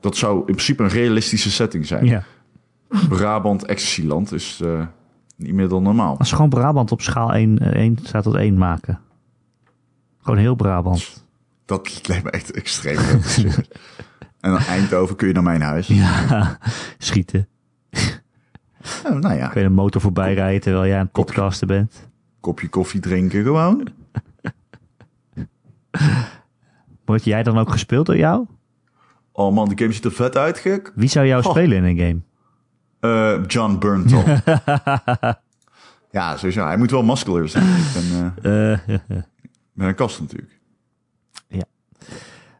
dat zou in principe een realistische setting zijn. Ja. Brabant ecstasyland is eh, niet meer dan normaal. Als ze gewoon Brabant op schaal 1, 1 staat tot 1 maken. Gewoon heel Brabant. Dat lijkt me echt extreem. en dan Eindhoven kun je naar mijn huis. Ja, schieten. Oh, nou ja, Kun je een motor voorbij rijden terwijl jij aan het podcasten bent. kopje koffie drinken gewoon. Wordt jij dan ook gespeeld door jou? Oh man, die game ziet er vet uit, gek. Wie zou jou Oh. spelen in een game? Eh, John Burnton. ja, sowieso. Hij moet wel muscular zijn. Ik ben, eh, Eh, ben een kast natuurlijk.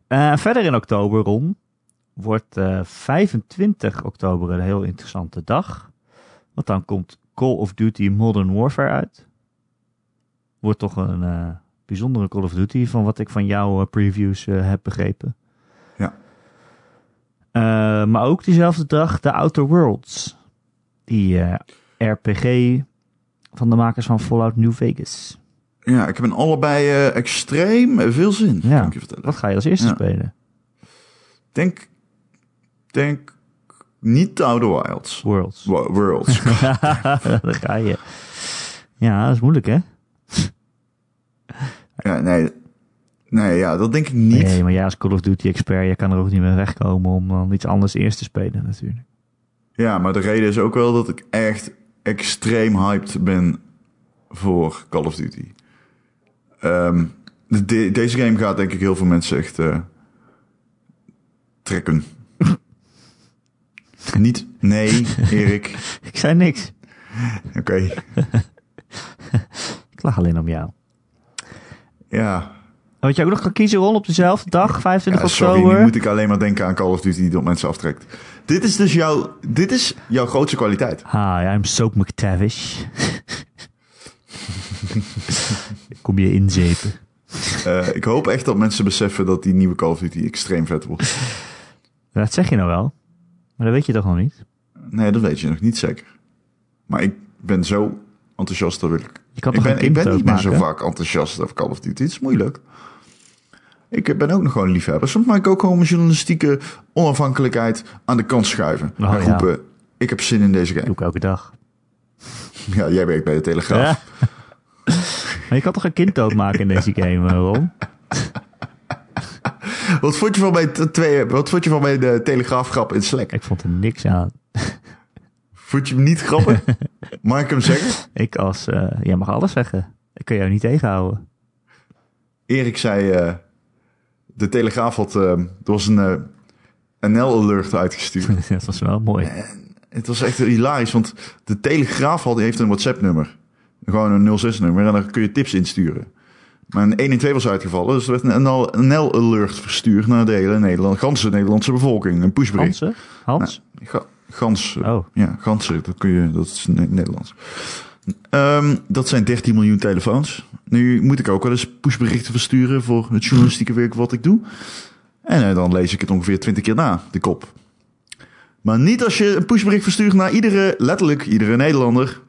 Eh, verder in oktober, Ron, wordt eh, 25 oktober een heel interessante dag. Want dan komt Call of Duty Modern Warfare uit. Wordt toch een eh, bijzondere Call of Duty van wat ik van jouw eh, previews eh, heb begrepen. Ja. Eh, maar ook diezelfde dag de Outer Worlds. Die eh, RPG van de makers van Fallout New Vegas. Ja, ik heb in allebei eh, extreem veel zin, Ja. kan ik je vertellen. Wat ga je als eerste Ja. spelen? Denk, denk niet de Outer Wilds. Worlds. Wo- Worlds. Daar ga je. Ja, dat is moeilijk, hè? ja, nee. Nee, ja, dat denk ik niet. Nee, maar ja, als Call of Duty-expert, je kan er ook niet meer wegkomen om dan iets anders eerst te spelen, natuurlijk. Ja, maar de reden is ook wel dat ik echt extreem hyped ben voor Call of Duty. Ehm, de- deze game gaat denk ik heel veel mensen echt eh, trekken. Niet, nee, Erik. Ik zei niks. Oké, Ik lach alleen om jou. ja. En Wat je ook nog kan kiezen, Ron, op dezelfde dag, 25 ja. Sorry, oktober. nu moet ik alleen maar denken aan Call of Duty die dat mensen aftrekt. Dit is dus jouw, dit is jouw grootste kwaliteit. Hi, I'm Soap McTavish. Ik Kom je inzepen. Eh, ik hoop echt dat mensen beseffen dat die nieuwe Call of Duty extreem vet wordt. Dat zeg je nou wel, maar dat weet je toch nog niet? Nee, dat weet je nog niet zeker. Maar ik ben zo enthousiast dat ik... Je kan Ik toch ben, een ik kind ben ook niet meer maken? zo vaak enthousiast over Call of Duty. Het is moeilijk. Ik ben ook nog gewoon een liefhebber. Soms maak ik ook gewoon mijn journalistieke onafhankelijkheid aan de kant schuiven. Oh, en ja. roepen, ik heb zin in deze Doe game. ik elke dag. Ja, jij werkt bij de Telegraaf. Ja. maar je kan toch een kind ook maken in deze game, eh, Ron? Wat vond je van mijn, t- twee, wat vond je van mijn de Telegraaf grap in Slack? Ik vond er niks aan. Vond je hem niet grappig? Mag ik hem zeggen? Ik als, eh, jij mag alles zeggen. Ik kan jou niet tegenhouden. Erik zei, eh, de Telegraaf had... eh, er was een eh, NL-alert uitgestuurd. dat was wel mooi. Het was echt hilarisch, want de Telegraaf had, heeft een WhatsApp-nummer. Gewoon een 06-nummer en daar kun je tips insturen. Maar een 1 en 2 was uitgevallen, dus er werd een NL een NL-alert verstuurd naar de hele Nederland, ganse Nederlandse bevolking. Een pushbericht. Hansen? Hans? Ga, gans, eh, Oh, ja, ganse, dat, kun je, dat is Ne- Nederlands. Ehm, dat zijn 13 miljoen telefoons. Nu moet ik ook wel eens pushberichten versturen voor het journalistieke werk wat ik doe. En eh, dan lees ik het ongeveer 20 keer na, de kop. Maar niet als je een pushbericht verstuurt naar iedere, letterlijk iedere Nederlander.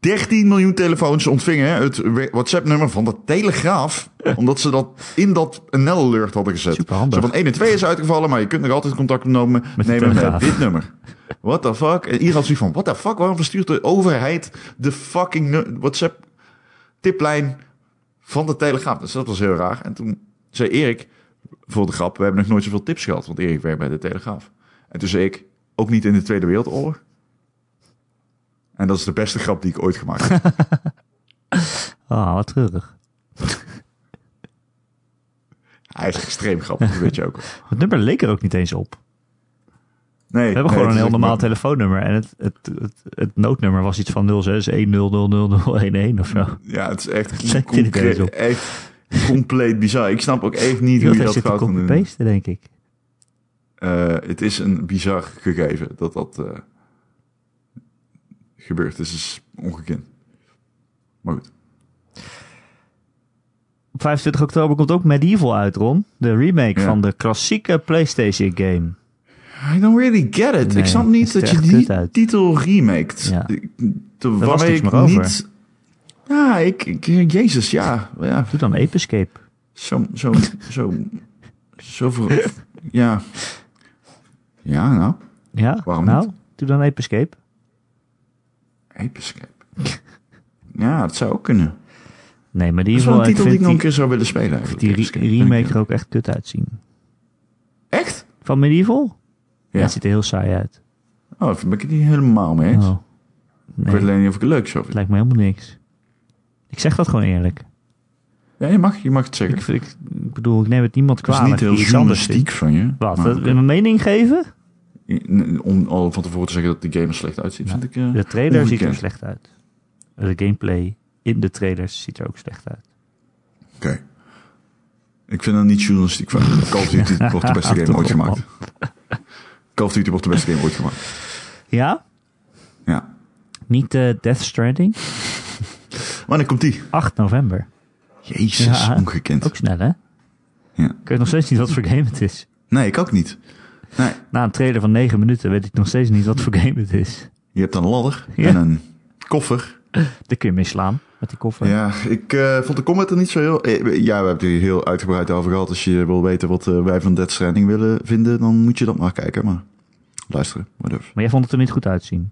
13 miljoen telefoons ontvingen het we- WhatsApp-nummer van de Telegraaf. Omdat ze dat in dat NL-alert hadden gezet. Superhandig. Zo van 1 en 2 is uitgevallen, maar je kunt nog altijd contact nemen Met met, de nemen met Telegraaf. dit nummer. What the fuck? En iedereen had zoiets van, what the fuck? Waarom verstuurt de overheid de fucking nu- WhatsApp-tiplijn van de Telegraaf? Dus dat was heel raar. En toen zei Erik, voor de grap, we hebben nog nooit zoveel tips gehad. Want Erik werkt bij de Telegraaf. En toen zei ik, ook niet in de Tweede Wereldoorlog. En dat is de beste grap die ik ooit gemaakt heb. ah, wat treurig. Hij is extreem grappig, dat weet je ook. wel. Het nummer leek er ook niet eens op. Nee, We hebben gewoon een heel normaal telefoonnummer. En het, het, het, het noodnummer was iets van 0610000011 of zo. Ja, het is echt, Zet je niet eens op. compleet, echt compleet bizar. Ik snap ook echt niet hoe je Iedereen dat zit te fout kan doen. copy-pasten, denk ik. Eh, het is een bizar gegeven dat dat eh, gebeurt. Het is ongekend. Maar goed. Op 25 oktober komt ook Medieval uit, Ron. De remake Ja. van de klassieke PlayStation game. I don't really get it. Nee, ik snap het niet ziet dat er je echt die kut uit. titel remaked. Ja. Ik- Er was was niks ik meer over. niet... Ja, ik, ik- Jezus, ja. ja Doe dan Ape Escape. zo, zo, zo, zo ver- Ja. Ja, nou. Ja, Waarom nou, doe dan Ape Escape. Ape Escape. Ja, dat zou ook kunnen. Nee, Dat is wel Medieval, een ik titel die vind ik nog die, een keer zou willen spelen. ik vind eigenlijk. die Ape re- Escape. remake er ook echt kut uitzien. Echt? Van Medieval? Ja, Ja. het ziet er heel saai uit. Oh, daar ben ik het niet helemaal mee eens. Oh. Ik Nee, weet het alleen niet of ik het leuk zou vinden. lijkt me helemaal niks. Ik zeg dat gewoon eerlijk. Ja, je mag, je mag het zeggen. Ik, ik, ik bedoel, ik neem het niemand Het is kwalijk. niet heel die iets anders journalistiek van je. vindt. Wat, maar- dat- mijn mening geven? Om al van tevoren te zeggen dat de game er slecht uitziet, Ja. vind ik... eh, De trailer ziet er Ongekend. slecht uit. De gameplay in de trailers ziet er ook slecht uit. Oké. Ik vind dat niet journalistiek van. Call of Duty wordt de beste game ooit gemaakt. Call of Duty wordt de beste game ooit gemaakt. Ja? Ja. Niet eh, Death Stranding? Wanneer komt die? 8 november. Jezus, Ja. ongekend. Ook snel, hè? Ja. Ik weet nog steeds niet wat voor game het is. Nee, ik ook niet. Nee, Na een trailer van 9 minuten weet ik nog steeds niet wat voor game het is. je hebt dan een ladder Ja. en een koffer. Daar kun je mee slaan met die koffer. Ja, ik eh, vond de comment er niet zo heel... eh, Ja, we hebben het hier heel uitgebreid over gehad. Als je wil weten wat eh, wij van Death Stranding willen vinden, dan moet je dat maar kijken. Maar luisteren, whatever. Maar jij vond het er niet goed uitzien.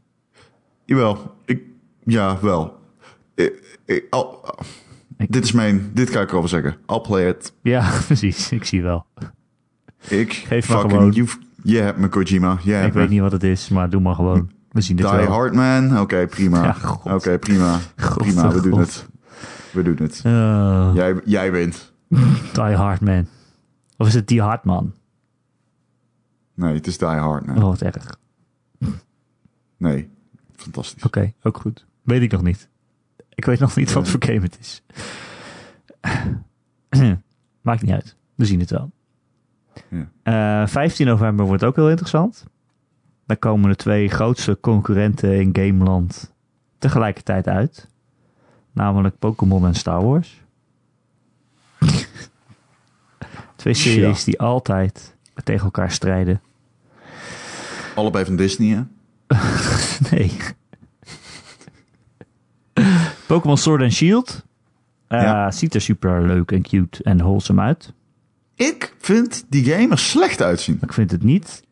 Jawel, ik, ja, wel. Ik, ik- al- dit is mijn, dit kan ik erover zeggen. I'll play it. Ja, precies. Ik zie wel. Ik Geef maar fucking, gewoon. you- je hebt me Kojima. Je ik hebt weet me. niet wat het is, maar doe maar gewoon. We zien Die het wel. Hard Man. Oké, prima. Ja, Oké, God. prima. God, prima, oh, we doen God. het. We doen het. Eh, Jij, jij wint. Die Hard Man. Of is het Die Hard Man? Nee, het is Die Hard Man. Oh, wat erg. Oké, Nee, fantastisch. ook goed. Weet ik nog niet. Ik weet nog niet wat voor game het is. Maakt niet uit. We zien het wel. Ja. Eh, 15 november wordt ook heel interessant. Daar komen de twee grootste concurrenten in Gameland tegelijkertijd uit. Namelijk Pokémon en Star Wars. twee series die altijd tegen elkaar strijden. Allebei van Disney, hè? Nee. Pokémon Sword and Shield. Eh, Ja. Ziet er super leuk en cute en wholesome uit. Ik vind die game er slecht uitzien. Maar ik vind het niet.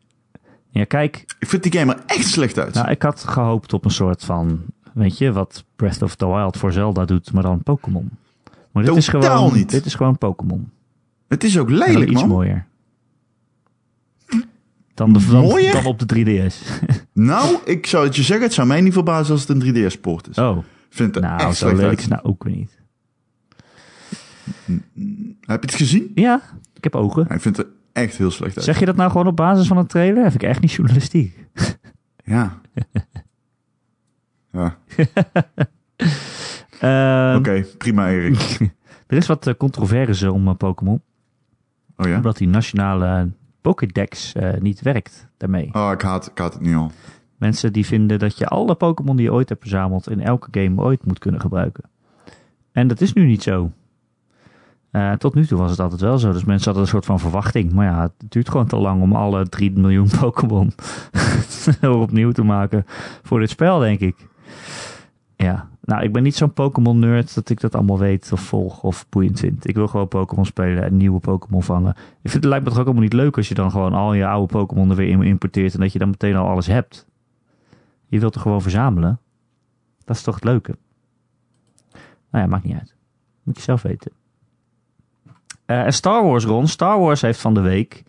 Ja, kijk, Ik vind die game er echt slecht uit. nou, ik had gehoopt op een soort van. Weet je wat Breath of the Wild voor Zelda doet, maar dan Pokémon. Maar dit is Totaal gewoon, niet. Dit is gewoon Pokémon. het is ook En dan lelijk, iets man. mooier. Dan, de, dan, Mooier? dan op de 3DS. Nou, ik zou het je zeggen, het zou mij niet verbazen als het een 3DS-port is. Oh, Ik vind het er nou, echt zo slecht leuk uit. is nou ook weer niet. Heb je het gezien? Ja, ik heb ogen. Ja, ik vind het er echt heel slecht uit. Zeg je dat nou gewoon op basis van een trailer? Dat vind ik echt niet journalistiek. Ja. ja. Ehm, Oké, prima Erik. Er is wat eh, controverse om eh, Pokémon. Oh ja? Omdat die nationale Pokédex eh, niet werkt daarmee. Oh, ik haat, ik haat het nu al. Mensen die vinden dat je alle Pokémon die je ooit hebt verzameld in elke game ooit moet kunnen gebruiken. En dat is nu niet zo. Eh, tot nu toe was het altijd wel zo. Dus mensen hadden een soort van verwachting. Maar ja, het duurt gewoon te lang om alle 3 miljoen Pokémon opnieuw te maken voor dit spel, denk ik. Ja, nou, ik ben niet zo'n Pokémon-nerd dat ik dat allemaal weet of volg of boeiend vind. Ik wil gewoon Pokémon spelen en nieuwe Pokémon vangen. Ik vind het lijkt me toch ook helemaal niet leuk als je dan gewoon al je oude Pokémon er weer in importeert en dat je dan meteen al alles hebt. Je wilt er gewoon verzamelen. Dat is toch het leuke? Nou ja, maakt niet uit. Moet je zelf weten. Eh, en Star Wars, Ron. Star Wars heeft van de week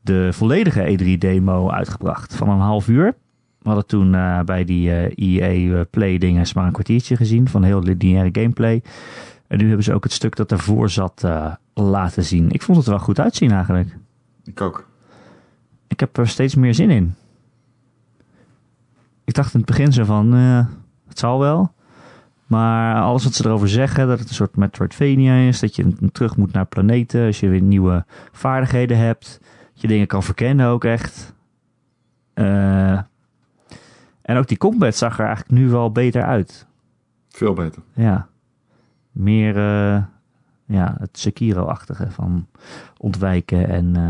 de volledige E3-demo uitgebracht van een half uur. We hadden toen eh, bij die eh EA Play dinges maar een kwartiertje gezien van heel lineaire gameplay. En nu hebben ze ook het stuk dat ervoor zat eh, laten zien. Ik vond het er wel goed uitzien eigenlijk. Ik ook. Ik heb er steeds meer zin in. Ik dacht in het begin zo van, eh, het zal wel. Maar alles wat ze erover zeggen, dat het een soort Metroidvania is, dat je een- terug moet naar planeten, als je weer nieuwe vaardigheden hebt, dat je dingen kan verkennen ook echt. Eh, en ook die combat zag er eigenlijk nu wel beter uit. Veel beter. Ja. Meer eh, ja, het Sekiro-achtige van ontwijken. En, eh,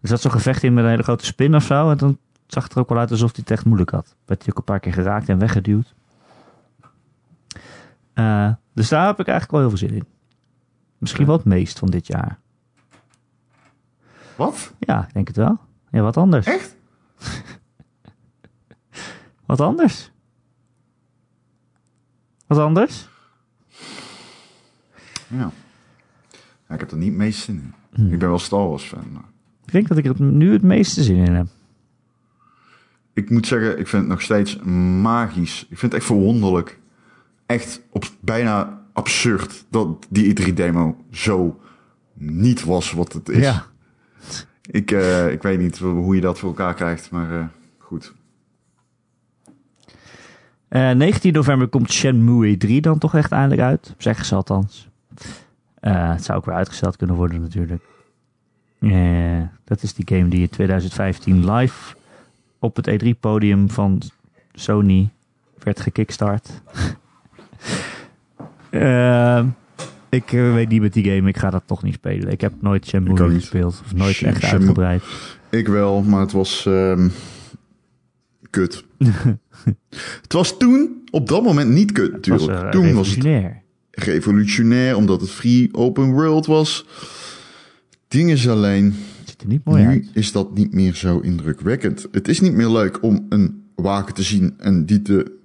er zat zo'n gevecht in met een hele grote spin of zo. En dan zag het er ook wel uit alsof hij het echt moeilijk had. Werd hij ook een paar keer geraakt en weggeduwd. Eh, dus daar heb ik eigenlijk wel heel veel zin in. Misschien wel het meest van dit jaar. Wat? Ja, ik denk het wel. Ja, wat anders? Echt? Wat anders? Wat anders? Ja. ja ik heb er niet mee zin in. Hmm. Ik ben wel Star Wars fan, maar... Ik denk dat ik er nu het meeste zin in heb. Ik moet zeggen, ik vind het nog steeds magisch. Ik vind het echt verwonderlijk. Echt op bijna absurd dat die E3-demo zo niet was wat het is. Ja. Ik, eh, ik weet niet hoe je dat voor elkaar krijgt, maar eh, goed. Eh, 19 november komt Shenmue 3 dan toch echt eindelijk uit. Zeggen ze althans. Eh, het zou ook weer uitgesteld kunnen worden natuurlijk. Eh, dat is die game die in 2015 live op het E3-podium van Sony werd gekickstart. Eh, ik eh, weet niet met die game. Ik ga dat toch niet spelen. Ik heb nooit Ik ook Shenmue niet. gespeeld. Of nooit Sh- echt Shenmue- uitgebreid. Ik wel, maar het was ehm, kut. het was toen op dat moment niet kut, natuurlijk. was, eh, toen was het revolutionair. revolutionair, omdat het free open world was. Ding is alleen, Het ziet er niet mooi nu uit. is dat niet meer zo indrukwekkend. Het is niet meer leuk om een waken te zien en die te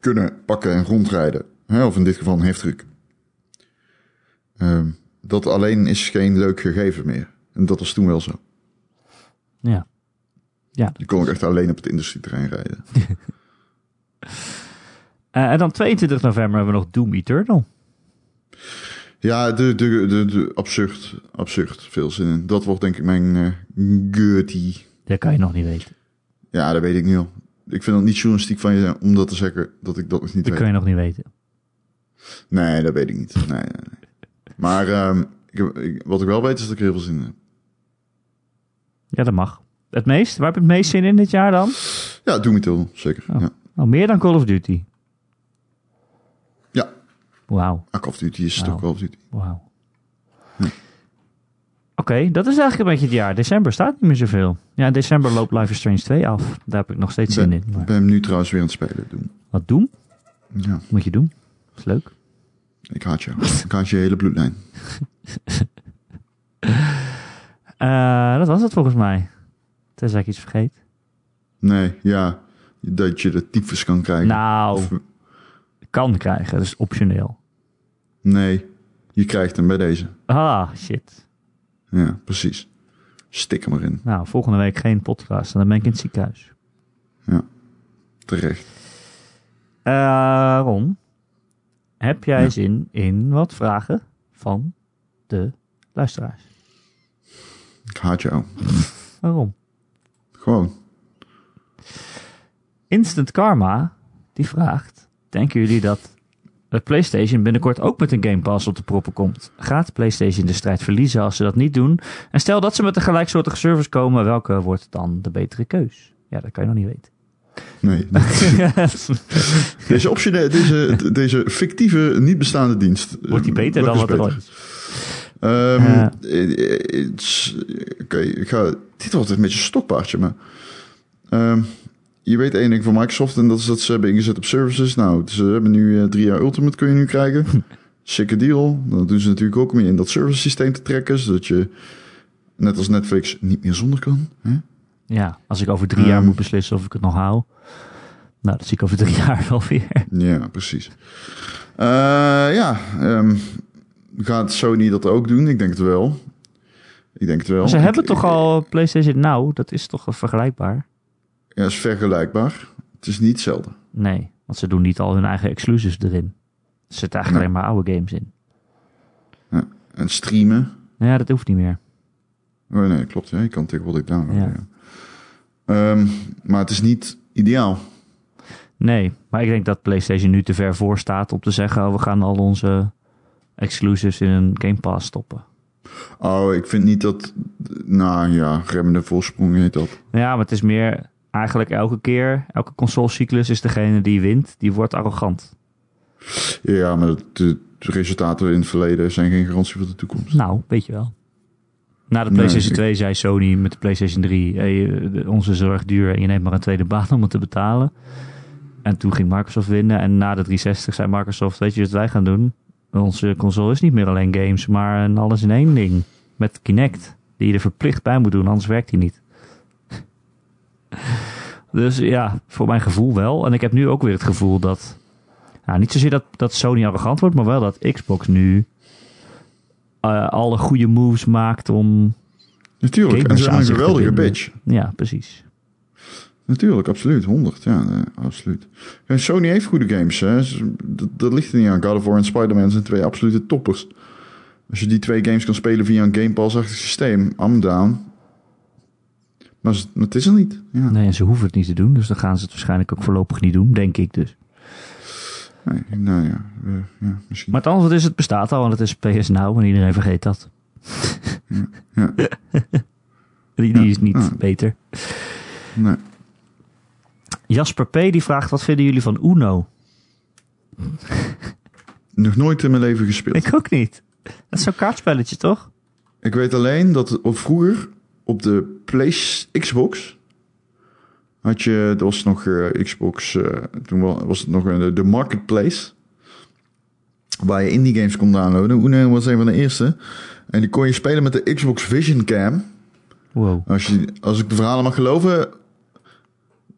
kunnen pakken en rondrijden. Hè, of in dit geval een heftruck. Ehm, dat alleen is geen leuk gegeven meer. En dat was toen wel zo. Ja. Ja, Je kon ook echt alleen op het industrieterrein rijden. Eh, en dan 22 november hebben we nog Doom Eternal. Ja, de, de, de, de- absurd, absurd veel zin in. Dat wordt denk ik mijn eh gutty. Dat kan je nog niet weten. Ja, dat weet ik niet al. Ik vind het niet journalistiek van je om dat te zeggen dat ik dat nog niet Dat weet. kan je nog niet weten. Nee, dat weet ik niet. Nee, nee, nee. Maar ehm, ik heb- ik- wat ik wel weet is dat ik er heel veel zin in heb. Ja, dat mag. Het meest? Waar heb je het meest zin in dit jaar dan? Ja, doe me til, zeker. Oh. Ja. Nou, meer dan Call of Duty. ja, Wauw, Ah, Call of Duty is Nou. toch Call of Duty. wauw. Oké, dat is eigenlijk een beetje het jaar. December staat niet meer zoveel. Ja, in december loopt Life is Strange 2 af. Daar heb ik nog steeds zin ben, in. Maar ben hem nu trouwens weer aan het spelen doen. wat doen? Ja, Moet je doen. Is leuk. ik haat jou. ik haat je hele bloedlijn. Eh, dat was het volgens mij. Tenzij ik iets vergeet. Nee, ja, dat je de tyfus kan krijgen. Nou, Of- kan krijgen. Dat is optioneel. nee, je krijgt hem bij deze. Ah, shit. Ja, precies. Stik hem erin. Nou, volgende week geen podcast. Dan ben ik in het ziekenhuis. Terecht. Eh, Ron, heb jij Ja. zin in wat vragen van de luisteraars? Ik haat jou. Waarom? Gewoon. Instant Karma, die vraagt... Denken jullie dat het PlayStation binnenkort ook met een Game Pass op de proppen komt? Gaat PlayStation de strijd verliezen als ze dat niet doen? En stel dat ze met een gelijksoortige service komen, welke wordt dan de betere keus? Ja, dat kan je nog niet weten. Nee. deze, optionele, deze, deze fictieve, niet bestaande dienst. eh, wordt die beter dan welke wat is er ooit is? beter? Ehm, eh, eh, it's- Oké, ik ga. Dit wordt een beetje een stokpaardje, maar. ehm, je weet één ding van Microsoft en dat is dat ze hebben ingezet op services. Nou, ze hebben nu eh, drie jaar Ultimate kun je nu krijgen. Sikke deal. Dat doen ze natuurlijk ook om je in dat service systeem te trekken, zodat je net als Netflix niet meer zonder kan. Hè? Ja, als ik over drie jaar Ehm. moet beslissen of ik het nog hou. Nou, dat zie ik over drie jaar wel weer. Ja, precies. Eh, ja, ehm, gaat Sony dat ook doen? Ik denk het wel. Ik denk het wel. Maar ze Ik- hebben toch ik- al PlayStation Now? Dat is toch vergelijkbaar? Ja, is vergelijkbaar. Het is niet hetzelfde. Nee, want ze doen niet al hun eigen exclusives erin. Er zitten eigenlijk Nee. alleen maar oude games in. Nou En streamen. Ja, dat hoeft niet meer. Oh nee, klopt. Ja. Je kan tegenwoordig downloaden. Ja. Ja. Ehm, maar het is niet ideaal. Nee, maar ik denk dat PlayStation nu te ver voor staat om te zeggen... Oh, we gaan al onze exclusives in een Game Pass stoppen. Oh, ik vind niet dat... Nou ja, remmende voorsprong heet dat. Nou Ja, maar het is meer... Eigenlijk elke keer, elke consolecyclus is degene die wint, die wordt arrogant. Ja, maar de, de resultaten in het verleden zijn geen garantie voor de toekomst. Nou, weet je wel. Na de Nee, PlayStation ik- 2 zei Sony met de PlayStation 3: hey, eh, de- onze zorg duur en je neemt maar een tweede baan om het te betalen. En toen ging Microsoft winnen. En na de 360 zei Microsoft: Weet je wat wij gaan doen? Onze console is niet meer alleen games, maar een alles in één ding. Met Kinect, die je er verplicht bij moet doen, anders werkt die niet. Dus ja, voor mijn gevoel wel. En ik heb nu ook weer het gevoel dat. Nou, niet zozeer dat, dat Sony arrogant wordt, maar wel dat Xbox nu eh, alle goede moves maakt om. Natuurlijk, en Gamers ze zijn een aan zich te geweldige binden. bitch. Ja, precies. Natuurlijk, absoluut. 100, ja, nee, absoluut. Ja, Sony heeft goede games, hè. Ze- Dat, dat ligt er niet aan. God of War en Spider-Man zijn twee absolute toppers. Als je die twee games kan spelen via een Game Pass-achtig systeem, I'm down. Maar z- maar het is er niet. Ja. Nee, en ze hoeven het niet te doen, dus dan gaan ze het waarschijnlijk ook voorlopig niet doen, denk ik dus. Nee, nou ja, eh, ja misschien. Maar het antwoord is, het bestaat al en het is PS Now en iedereen vergeet dat. Ja. Die, die Ja, is niet ja. beter. Nee. Jasper P. die vraagt, wat vinden jullie van Uno? Nog nooit in mijn leven gespeeld. Ik ook niet. Dat is zo'n kaartspelletje, toch? Ik weet alleen dat op vroeger op de Place Xbox had je, dat was nog eh, Xbox, eh, toen wa- was het nog eh, de- de Marketplace. Waar je indie games kon downloaden. Uno was een van de eerste. En die kon je spelen met de Xbox Vision Cam. Wow. Als, je, als ik de verhalen mag geloven,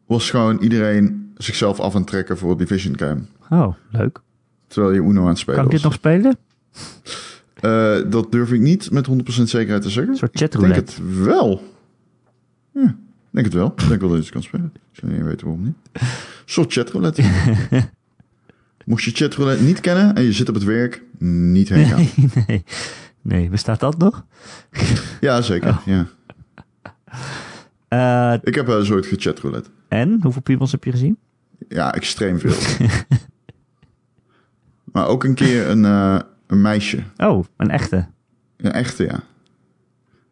was gewoon iedereen zichzelf af aan het trekken voor die Vision Cam. Oh, leuk. Terwijl je Uno aan het spelen Kan ik dit was. nog spelen? Eh, dat durf ik niet met 100% zekerheid te zeggen. Een soort Ik denk chatroulette. het wel. Ja, ik denk het wel. Ik denk wel dat je het kan spelen. Ik zou niet weten waarom niet. Een soort chatroulette. Mocht je chatroulette niet kennen en je zit op het werk, niet heen gaan. Nee, nee. Nee, bestaat dat nog? Ja, zeker. Ja. Eh, Ik heb wel eens ooit gechatroulette. en? Hoeveel piemels heb je gezien? Ja, extreem veel. maar ook een keer een, eh, een meisje. Oh, een echte. Een echte, ja.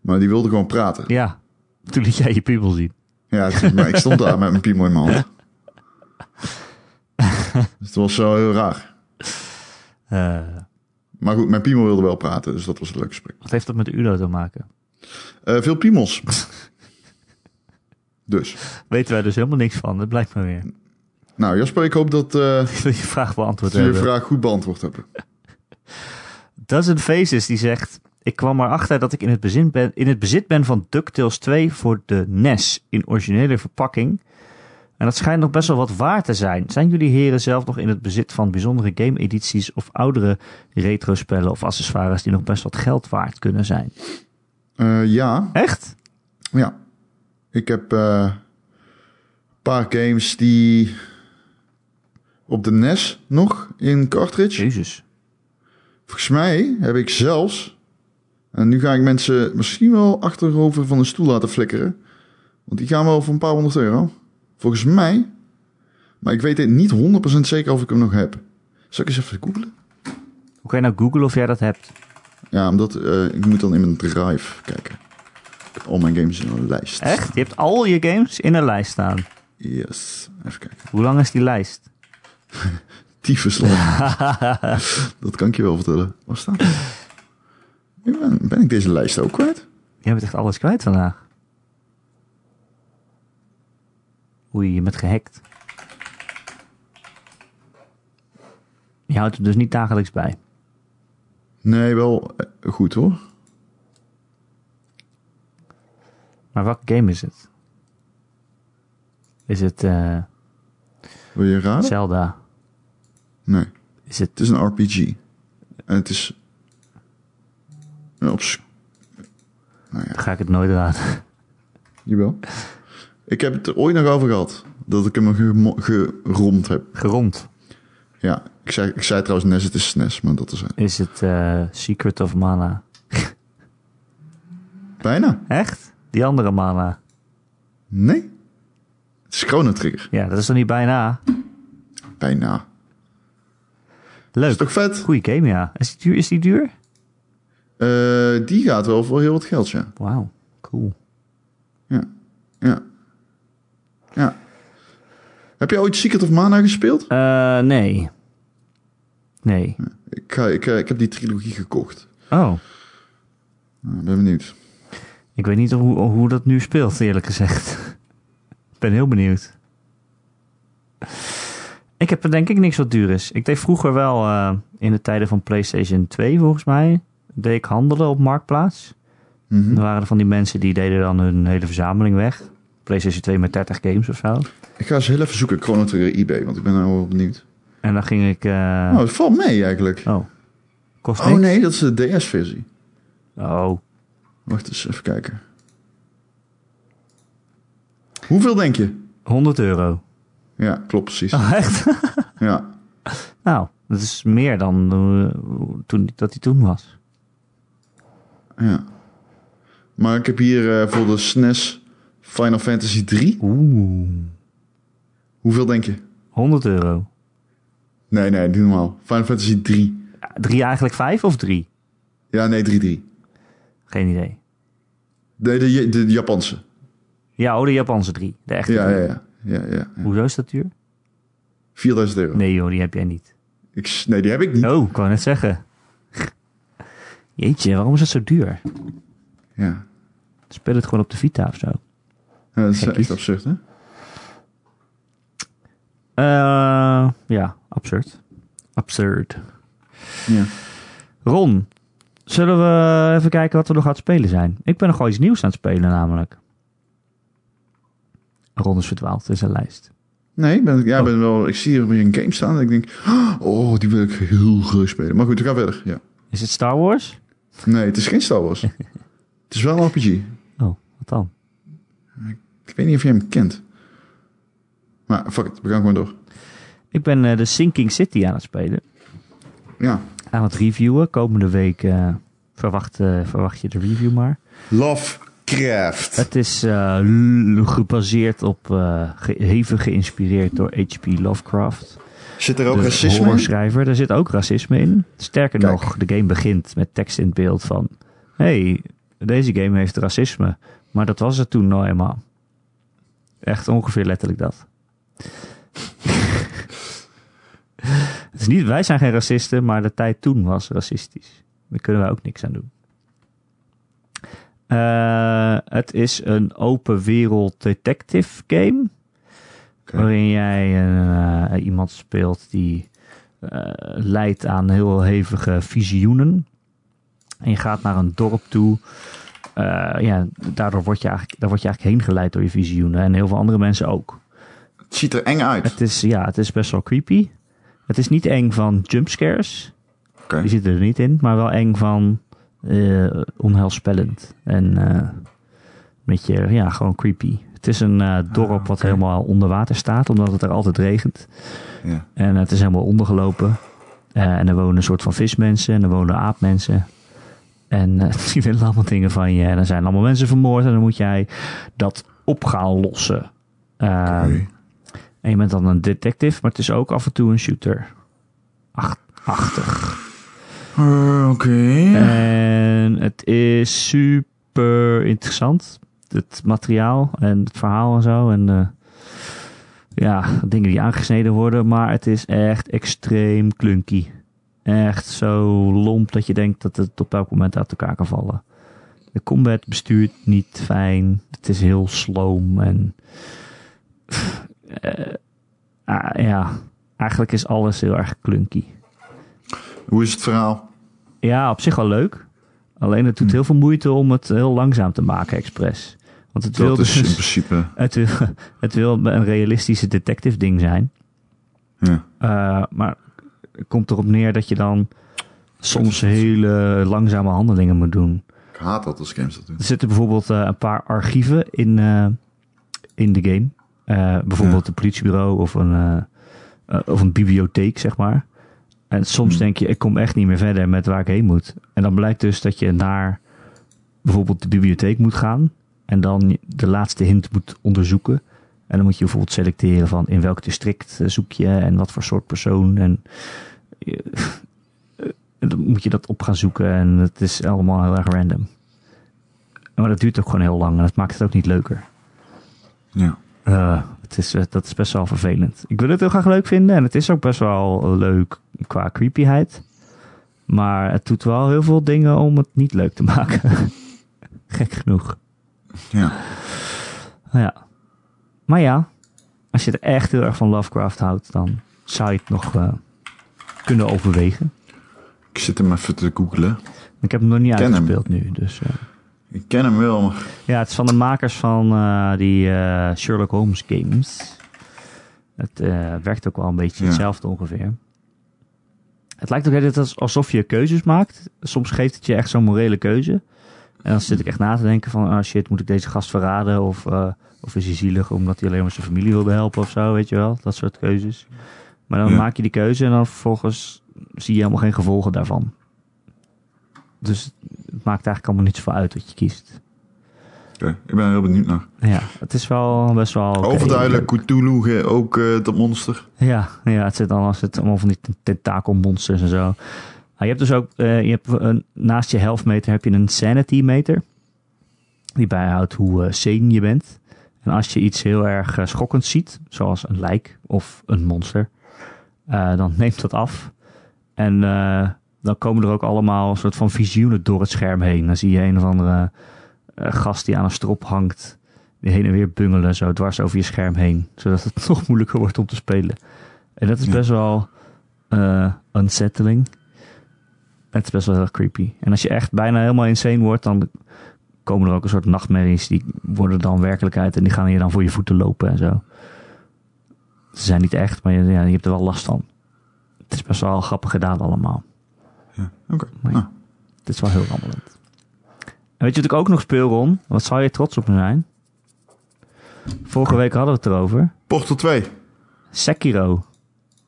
Maar die wilde gewoon praten. Ja. Toen liet jij je piemel zien. Ja, het- maar ik stond daar met mijn piemel in mijn hand. Dus het was zo heel raar. Eh, Maar goed, mijn piemel wilde wel praten, dus dat was een leuk gesprek. wat heeft dat met Uno te maken? Eh, veel piemels. dus. Weten wij dus helemaal niks van. Dat blijkt maar weer. Nou, Jasper, ik hoop dat eh Ik wil je vraag beantwoord ze je hebben. vraag goed beantwoord hebben. Dozen Faces die zegt... Ik kwam erachter dat ik in het, bezit ben, in het bezit ben van DuckTales 2 voor de NES in originele verpakking. En dat schijnt nog best wel wat waar te zijn. Zijn jullie heren zelf nog in het bezit van bijzondere game-edities of oudere retrospellen of accessoires die nog best wat geld waard kunnen zijn? Eh, ja, Echt? ja. Ik heb eh, een paar games die op de NES nog in cartridge. Jezus. Volgens mij heb ik zelfs... En nu ga ik mensen misschien wel achterover van de stoel laten flikkeren. Want die gaan wel voor een paar honderd euro. Volgens mij. Maar ik weet het niet 100% zeker of ik hem nog heb. Zal ik eens even googlen? Hoe kan je nou googlen of jij dat hebt? Ja, omdat eh, ik moet dan in mijn drive kijken. Ik heb al mijn games in een lijst. Echt? Je hebt al je games in een lijst staan. Yes. Even kijken. Hoe lang is die lijst? Tyfus Dat kan ik je wel vertellen. Waar staat het? Ik ben, ben ik deze lijst ook kwijt? Jij bent echt alles kwijt vandaag. Oei, je bent gehackt. Je houdt het dus niet dagelijks bij. Nee, wel eh, goed hoor. Maar welke game is het? Is het eh, Wil je raden? Zelda? Nee. Is het... Het is een RPG. En het is. Een obs- Nou ja, Dan ga ik het nooit raden. jawel. Ik heb het er ooit nog over gehad. Dat ik hem gemo- gerond heb. Gerond. Ja, ik zei, ik zei trouwens NES, het is SNES, maar dat is het. Is het eh, Secret of Mana? Bijna. Echt? Die andere Mana. Nee. Het is Chrono Trigger. Ja, dat is dan niet bijna. Bijna. Is Leuk. toch vet? Goeie game, ja. Is die duur? Is die duur? Eh, die gaat wel voor heel wat geld, ja. Wauw, cool. Ja. Ja. ja. Heb jij ooit Secret of Mana gespeeld? Eh, nee. Nee. Ik, ga, ik, eh, ik heb die trilogie gekocht. Oh, Nou, ben benieuwd. ik weet niet hoe, hoe dat nu speelt, eerlijk gezegd. Ik ben heel benieuwd. Ik heb er denk ik niks wat duur is. Ik deed vroeger wel, eh, in de tijden van PlayStation 2 volgens mij, deed ik handelen op Marktplaats. Mhm. Er waren er van die mensen die deden dan hun hele verzameling weg. PlayStation 2 met 30 games of zo. Ik ga eens heel even zoeken Chrono Trigger eBay, want ik ben nou wel benieuwd. En dan ging ik... eh, Nou, het valt mee eigenlijk. oh, kost Oh niks? nee, dat is de DS-versie. Oh, Wacht eens, even kijken. Hoeveel denk je? 100 euro. Ja, klopt, precies. Oh, echt? Ja. nou, dat is meer dan eh, toen, dat hij toen was. Ja. Maar ik heb hier eh, voor de SNES Final Fantasy 3. Oeh. Hoeveel denk je? 100 euro. Nee, nee, doe normaal. Final Fantasy 3. Ja, Drie eigenlijk vijf of drie? Ja, nee, 3-3. Geen idee. De, de, de Japanse. Ja, oh, de Japanse drie. De echte. Ja, drie. ja, ja. ja, ja, ja. Hoezo is dat duur? 4000 euro. Nee joh, die heb jij niet. Ik, s- nee, die heb ik niet. Oh, ik wou net zeggen. Jeetje, waarom is dat zo duur? Ja. Speel het gewoon op de Vita of zo. Ja, dat is Gekkies. echt absurd, hè? Eh, ja, absurd. Absurd. Ja. Ron, zullen we even kijken wat we nog aan het spelen zijn? Ik ben nogal iets nieuws aan het spelen namelijk. Ron is verdwaald in zijn lijst. Nee, ik ben, ja, ik Oh. ben wel, ik zie hier weer een game staan en ik denk, oh, die wil ik heel graag spelen. Maar goed, we gaan verder. Ja. Is het Star Wars? Nee, het is geen Star Wars. het is wel een RPG. Oh, wat dan? Ik weet niet of jij hem kent. Maar fuck it, we gaan gewoon door. Ik ben eh, de Sinking City aan het spelen. Ja. Aan het reviewen. Komende week eh, verwacht, eh, verwacht je de review maar. Lovecraft. Het is eh, l- gebaseerd op, eh, ge- hevig geïnspireerd door H.P. Lovecraft. Zit er ook de racisme in? horrorschrijver. Daar zit ook racisme in. Sterker Kijk. nog, de game begint met tekst in het beeld van... hey, deze game heeft racisme. Maar dat was het toen nou eenmaal. Echt ongeveer letterlijk dat. het is niet, wij zijn geen racisten, maar de tijd toen was racistisch. Daar kunnen wij ook niks aan doen. Eh, het is een open wereld detective game. Oké. Waarin jij eh, iemand speelt die eh, leidt aan heel hevige visioenen. En je gaat naar een dorp toe. Eh, ja, daardoor word je, eigenlijk, daar word je eigenlijk heen geleid door je visioenen. En heel veel andere mensen ook. Het ziet er eng uit. Het is, ja, het is best wel creepy. Het is niet eng van jumpscares. Oké. Die zitten er niet in. Maar wel eng van eh, onheilspellend. En eh met je, ja, gewoon creepy. Het is een eh, dorp wat Ah, oké. helemaal onder water staat. Omdat het er altijd regent. Ja. En het is helemaal ondergelopen. Eh, en er wonen een soort van vismensen en er wonen aapmensen. En eh, die willen allemaal dingen van je. En er zijn allemaal mensen vermoord. En dan moet jij dat op gaan lossen. Ehm, Oké. En je bent dan een detective, maar het is ook af en toe een shooter. Ach- Achtig. Eh, Oké. En het is super interessant. Het materiaal en het verhaal en zo. En eh, ja, dingen die aangesneden worden. Maar het is echt extreem klunky. Echt zo lomp dat je denkt dat het op elk moment uit elkaar kan vallen. De combat bestuurt niet fijn. Het is heel sloom en... pff, eh, ah, ja, eigenlijk is alles heel erg klunky. Hoe is het verhaal? Ja, op zich wel leuk. Alleen Hm. het doet heel veel moeite om het heel langzaam te maken, expres. Want het wil, Dat is in dus, principe... het, wil, het wil een realistische detective ding zijn. Ja. Eh, maar het komt erop neer dat je dan soms hele langzame handelingen moet doen. Ik haat dat als games dat doen. Er zitten bijvoorbeeld eh, een paar archieven in, eh, in de game. Eh, bijvoorbeeld een politiebureau of een, eh, eh, of een bibliotheek, zeg maar. En soms Hmm. denk je, ik kom echt niet meer verder met waar ik heen moet. En dan blijkt dus dat je naar bijvoorbeeld de bibliotheek moet gaan. En dan de laatste hint moet onderzoeken. En dan moet je bijvoorbeeld selecteren van in welk district eh, zoek je en wat voor soort persoon. En eh, dan moet je dat op gaan zoeken. En het is allemaal heel erg random. Maar dat duurt ook gewoon heel lang en dat maakt het ook niet leuker. Ja. Eh, het is, eh, dat is best wel vervelend. Ik wil het heel graag leuk vinden en het is ook best wel leuk qua creepyheid. Maar het doet wel heel veel dingen om het niet leuk te maken. Gek genoeg. Ja. Ja. Maar ja, als je er echt heel erg van Lovecraft houdt, dan zou je het nog eh, kunnen overwegen. Ik zit hem even te googlen. Ik heb hem nog niet Ken hem. uitgespeeld nu, dus... eh. Ik ken hem wel, maar... Ja, het is van de makers van eh, die eh, Sherlock Holmes games. Het eh, werkt ook wel een beetje Ja. hetzelfde ongeveer. Het lijkt ook heel erg als- alsof je keuzes maakt. Soms geeft het je echt zo'n morele keuze. En dan zit ik echt na te denken van, ah shit, moet ik deze gast verraden? Of, eh, of is hij zielig omdat hij alleen maar zijn familie wilde helpen of zo, weet je wel? Dat soort keuzes. Maar dan Ja. maak je die keuze en dan vervolgens zie je helemaal geen gevolgen daarvan. Dus het maakt eigenlijk allemaal niets voor uit wat je kiest. Oké, ik ben er heel benieuwd naar. Ja, het is wel best wel... oké. Overduidelijk, Cthulhu ge- ook eh, dat monster. Ja, ja het zit dan als het allemaal van die tent- tentakelmonsters en zo. Maar je hebt dus ook, eh, je hebt een, naast je healthmeter heb je een sanity meter. Die bijhoudt hoe eh sane je bent. En als je iets heel erg eh, schokkends ziet, zoals een lijk of een monster, eh, dan neemt dat af. En eh, dan komen er ook allemaal soort van visioenen door het scherm heen. Dan zie je een of andere eh, gast die aan een strop hangt, die heen en weer bungelen, zo dwars over je scherm heen. Zodat het nog moeilijker wordt om te spelen. En dat is Ja. best wel eh, unsettling. Het is best wel heel creepy. En als je echt bijna helemaal insane wordt, dan komen er ook een soort nachtmerries. Die worden dan werkelijkheid en die gaan je dan voor je voeten lopen en zo. Ze zijn niet echt, maar je, ja, je hebt er wel last van. Het is best wel grappig gedaan allemaal. Ja, Oké, Maar ja, nou, Het is wel heel rammelend. En weet je wat ik ook nog speel, Ron? Wat zou je trots op me zijn? Vorige week hadden we het erover. Portal 2. Sekiro.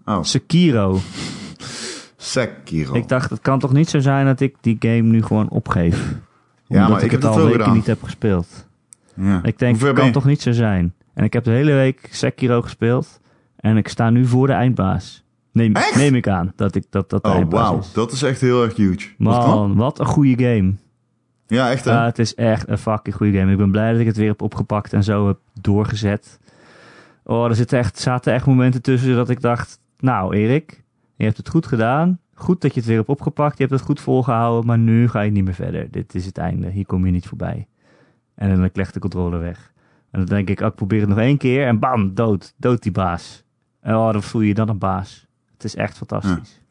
Oh, Sekiro. Sekiro. Ik dacht, het kan toch niet zo zijn dat ik die game nu gewoon opgeef? Omdat ja, maar ik, ik, het heb dat al wel weken gedaan. niet heb gespeeld. Ja. Ik denk, Hoe ver het ben kan je? toch niet zo zijn. En ik heb de hele week Sekiro gespeeld. En ik sta nu voor de eindbaas. Neem, Echt? neem ik aan dat ik, dat, dat de Oh, eindbaas wauw. is. Dat is echt heel erg huge. Wat dan? Man, wat een goede game. Ja, echt hè? Ja, het is echt een fucking goede game. Ik ben blij dat ik het weer heb opgepakt en zo heb doorgezet. Oh, er zitten echt, zaten echt momenten tussen dat ik dacht... Nou, Erik, je hebt het goed gedaan. Goed dat je het weer hebt opgepakt. Je hebt het goed volgehouden, maar nu ga je niet meer verder. Dit is het einde. Hier kom je niet voorbij. En dan leg ik de controle weg. En dan denk ik, oh, ik probeer het nog één keer. En bam, dood. Dood die baas. En oh, dan voel je je dan een baas. Het is echt fantastisch.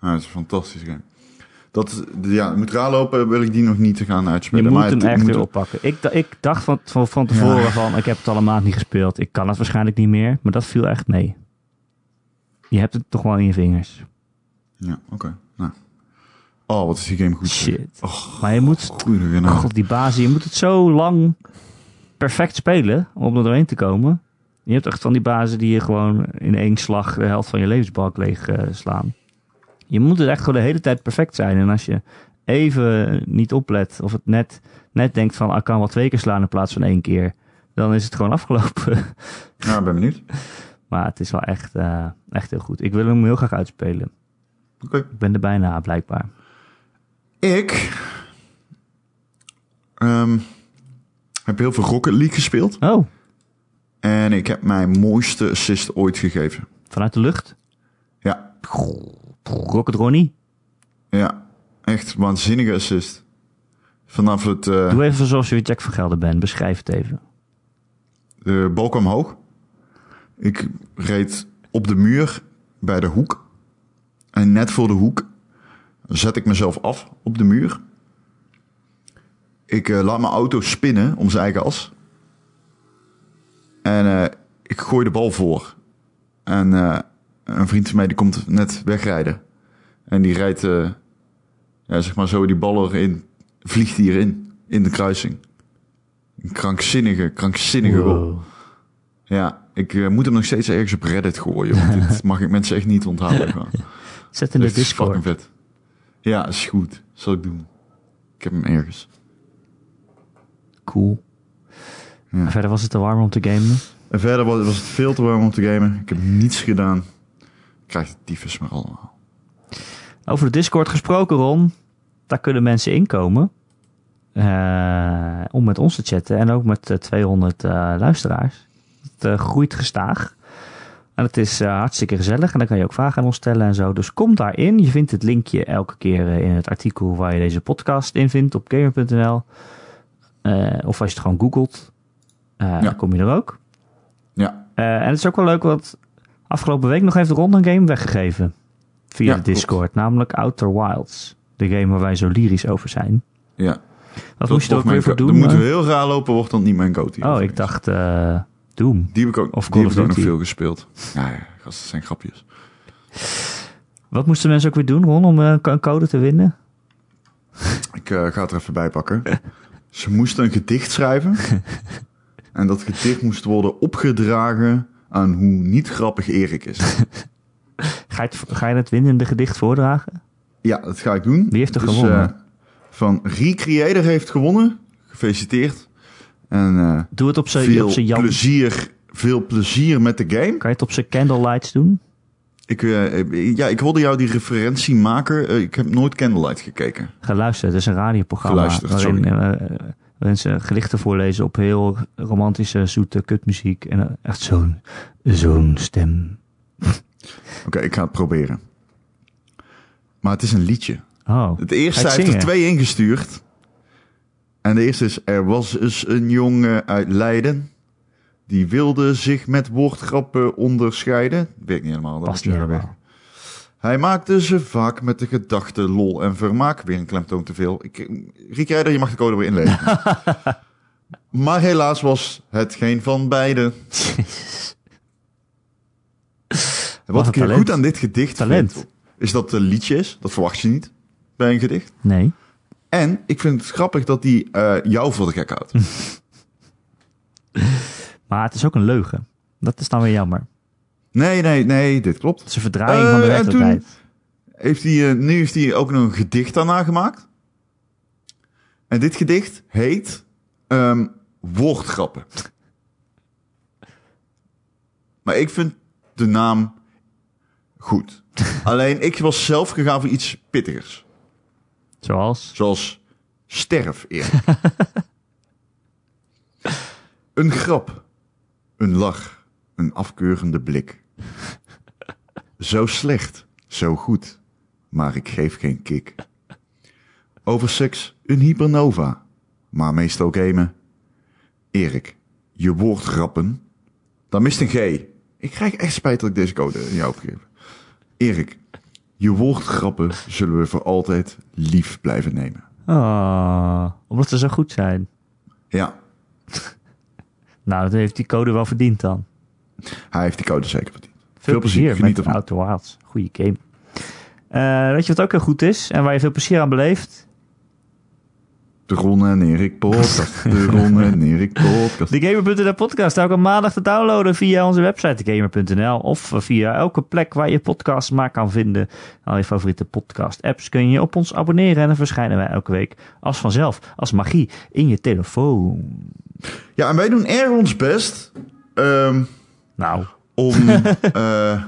Ja, Ah, dat is een fantastisch game. Dat is, ja, moet raar lopen wil ik die nog niet te gaan Je uitspelen. moet maar hem het- echt moet- weer oppakken. Ik, da- ik dacht van, van, van tevoren Ja. van, ik heb het al een maand niet gespeeld. Ik kan het waarschijnlijk niet meer. Maar dat viel echt mee. Je hebt het toch wel in je vingers. Ja, oké. Nou. Oh, wat is die game goed. Shit. Och, Maar je moet, goede genade. god, die basis, je moet het zo lang perfect spelen om er doorheen te komen. Je hebt echt van die bazen die je gewoon in één slag de helft van je levensbalk leeg eh, slaan. Je moet het echt gewoon de hele tijd perfect zijn. En als je even niet oplet of het net, net denkt van ah, ik kan wel twee keer slaan in plaats van één keer. Dan is het gewoon afgelopen. Nou, ik ben benieuwd. Maar het is wel echt, eh, echt heel goed. Ik wil hem heel graag uitspelen. Oké. Ik ben er bijna, blijkbaar. Ik ehm, heb heel veel Rocket League gespeeld. Oh, En ik heb mijn mooiste assist ooit gegeven. vanuit de lucht. Ja, Rocket Ronnie. ja. Echt waanzinnige assist. Vanaf het eh, Doe even zoals je weer Jack van Gelder bent. Beschrijf het even. De bal kwam hoog. Ik reed op de muur bij de hoek. En net voor de hoek zet ik mezelf af op de muur. Ik eh, laat mijn auto spinnen om zijn eigen as. En eh, ik gooi de bal voor. En eh, een vriend van mij die komt net wegrijden. En die rijdt, eh, ja, zeg maar zo, die bal erin. Vliegt die erin, in de kruising. Een krankzinnige, krankzinnige goal. Wow. Ja, ik eh, moet hem nog steeds ergens op Reddit gooien. Want dit mag ik mensen echt niet onthouden. gewoon. Zet in de Dit is fucking Discord. vet. Ja, is goed. Zal ik doen. Ik heb hem ergens. Cool. Ja. En Verder was het te warm om te gamen. En verder was, was het veel te warm om te gamen. Ik heb niets gedaan. Ik krijg de tyfus maar allemaal. Over de Discord gesproken, Ron. Daar kunnen mensen inkomen. eh, om met ons te chatten. En ook met eh, 200 eh, luisteraars. Het eh, groeit gestaag. En het is eh, hartstikke gezellig. En dan kan je ook vragen aan ons stellen en zo. Dus kom daarin. Je vindt het linkje elke keer eh, in het artikel waar je deze podcast in vindt. Op gamer.nl. Eh, of als je het gewoon googelt. eh, Dan kom je er ook. Ja, Eh, en het is ook wel leuk, want afgelopen week nog heeft Ron een game weggegeven. Via Ja, de Discord, namelijk Outer Wilds. De game waar wij zo lyrisch over zijn. ja. Wat moest je er ook weer voor Dan doen? moeten we eh? heel raar lopen, wordt dan niet mijn goatee. oh, ik dacht eh Doom. Die heb ik ook, of die Call heb of ik ook nog Duty. veel gespeeld. Ja, ja, gast, dat zijn grapjes. Wat moesten mensen ook weer doen, Ron, om eh, een code te winnen? Ik eh, ga het er even bij pakken. Ze moesten een gedicht schrijven. en dat gedicht moest worden opgedragen aan hoe niet grappig Erik is. Ga je, het, ga je het winnende gedicht voordragen? Ja, dat ga ik doen. Wie heeft er Dus, gewonnen? eh, van Recreator heeft gewonnen. Gefeliciteerd. En eh, Doe het op zijn op veel, zijn Jan. plezier, veel plezier met de game. Kan je het op zijn candlelights doen? Ik, eh, ja, ik wilde jou die referentie maken. Eh, ik heb nooit Candlelight gekeken. Geluisterd, het is een radioprogramma. Geluisterd, Waarin, eh, eh, waarin ze gedichten voorlezen op heel romantische, zoete kutmuziek. En eh, echt zo'n zo'n stem. Oké, ik ga het proberen. Maar het is een liedje. Oh, Het eerste, Ga je het hij heeft er zingen? twee ingestuurd. En de eerste is, er was eens een jongen uit Leiden. Die wilde zich met woordgrappen onderscheiden. Werkt niet helemaal. dat past moet niet je hebben. helemaal. Hij maakte ze vaak met de gedachte lol en vermaak. Weer een klemtoon te veel. Ik, Riek Rijder, je mag de code weer inleven. maar helaas was het geen van beide. Wat Wat een ik heel talent. goed aan dit gedicht Talent. vind, is dat het een liedje is. Dat verwacht je niet bij een gedicht. Nee. En ik vind het grappig dat hij eh, jou voor de gek houdt. Maar het is ook een leugen. Dat is dan weer jammer. Nee, nee, nee, dit klopt. Het is een verdraaiing van de Eh, en werkelijkheid. Heeft hij, eh, nu heeft hij ook nog een gedicht daarna gemaakt. En dit gedicht heet ehm, Woordgrappen. Maar ik vind de naam goed. Alleen ik was zelf gegaan voor iets pittigers. Zoals? Zoals sterf eerder. een grap. Een lach. Een afkeurende blik. Zo slecht. Zo goed. Maar ik geef geen kick. Over seks een hypernova. Maar meestal gamen. Erik, je woordgrappen. Dan mist een G. Ik krijg echt spijt dat ik deze code in jou heb gegeven. Erik, je woordgrappen zullen we voor altijd lief blijven nemen. Oh, omdat ze zo goed zijn. Ja, Nou, dat heeft die code wel verdiend dan. hij heeft die code zeker verdiend. Veel, plezier, geniet met ervan. Outer Wilds. Goeie game. Eh, weet je wat ook heel goed is en waar je veel plezier aan beleeft? De Ron en Erik podcast. De Ron en Erik podcast. De Gamer.nl podcast. Elke maandag te downloaden via onze website gamer.nl of via elke plek waar je podcasts maar kan vinden. Al je favoriete podcast apps kun je op ons abonneren en dan verschijnen wij elke week als vanzelf, als magie in je telefoon. Ja, en wij doen erg ons best ehm, Nou, om... eh,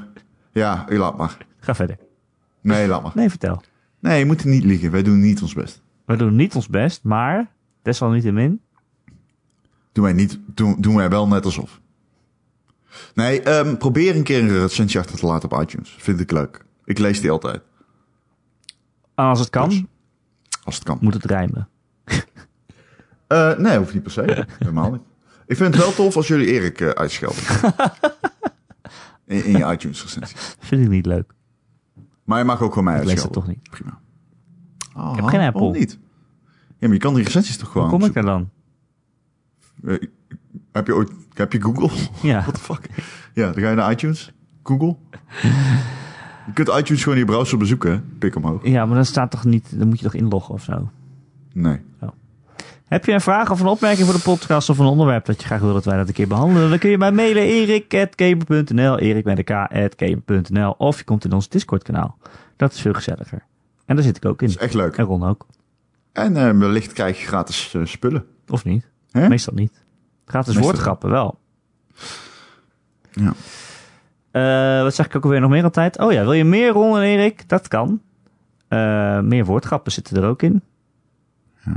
ja, laat maar. ga verder. Nee, laat maar. Nee, vertel. Nee, je moet niet liegen. Wij doen niet ons best. We doen niet ons best, maar desalniettemin. Doen wij, niet, doen, doen wij wel net alsof. Nee, ehm, probeer een keer een recensie achter te laten op iTunes. Vind ik leuk. Ik lees die altijd. Als het kan, Dus. Als het kan. moet het rijmen. Eh, nee, hoeft niet per se. Helemaal niet. Ik vind het wel tof als jullie Erik eh, uitschelden. In, in je iTunes recensie. Vind ik niet leuk. Maar je mag ook gewoon mij Ik lees dat uitschelden. toch niet. Prima. Oh, heb geen Apple. waarom niet? Ja, maar je kan die recensies toch gewoon... Hoe kom ik er dan? opzoeken? Eh, heb je ooit... Heb je Google? Ja. What the fuck? Ja, dan ga je naar iTunes. Google. Je kunt iTunes gewoon in je browser bezoeken. hè? Pik omhoog. Ja, maar dan staat toch niet, dan moet je toch inloggen of zo. Nee. Heb je een vraag of een opmerking voor de podcast of een onderwerp dat je graag wil dat wij dat een keer behandelen? Dan kun je mij mailen erik.gamer.nl, erik met een k, at gamer.nl of je komt in ons Discord kanaal. Dat is veel gezelliger. En daar zit ik ook in. Dat is echt leuk. En Ron ook. En eh, wellicht krijg je gratis eh, spullen. Of niet? Hè? Meestal niet. Gratis Meestal woordgrappen wel. Ja. Eh, wat zeg ik ook alweer nog meer altijd? Oh ja, wil je meer Ron en Erik? Dat kan. Eh, meer woordgrappen zitten er ook in.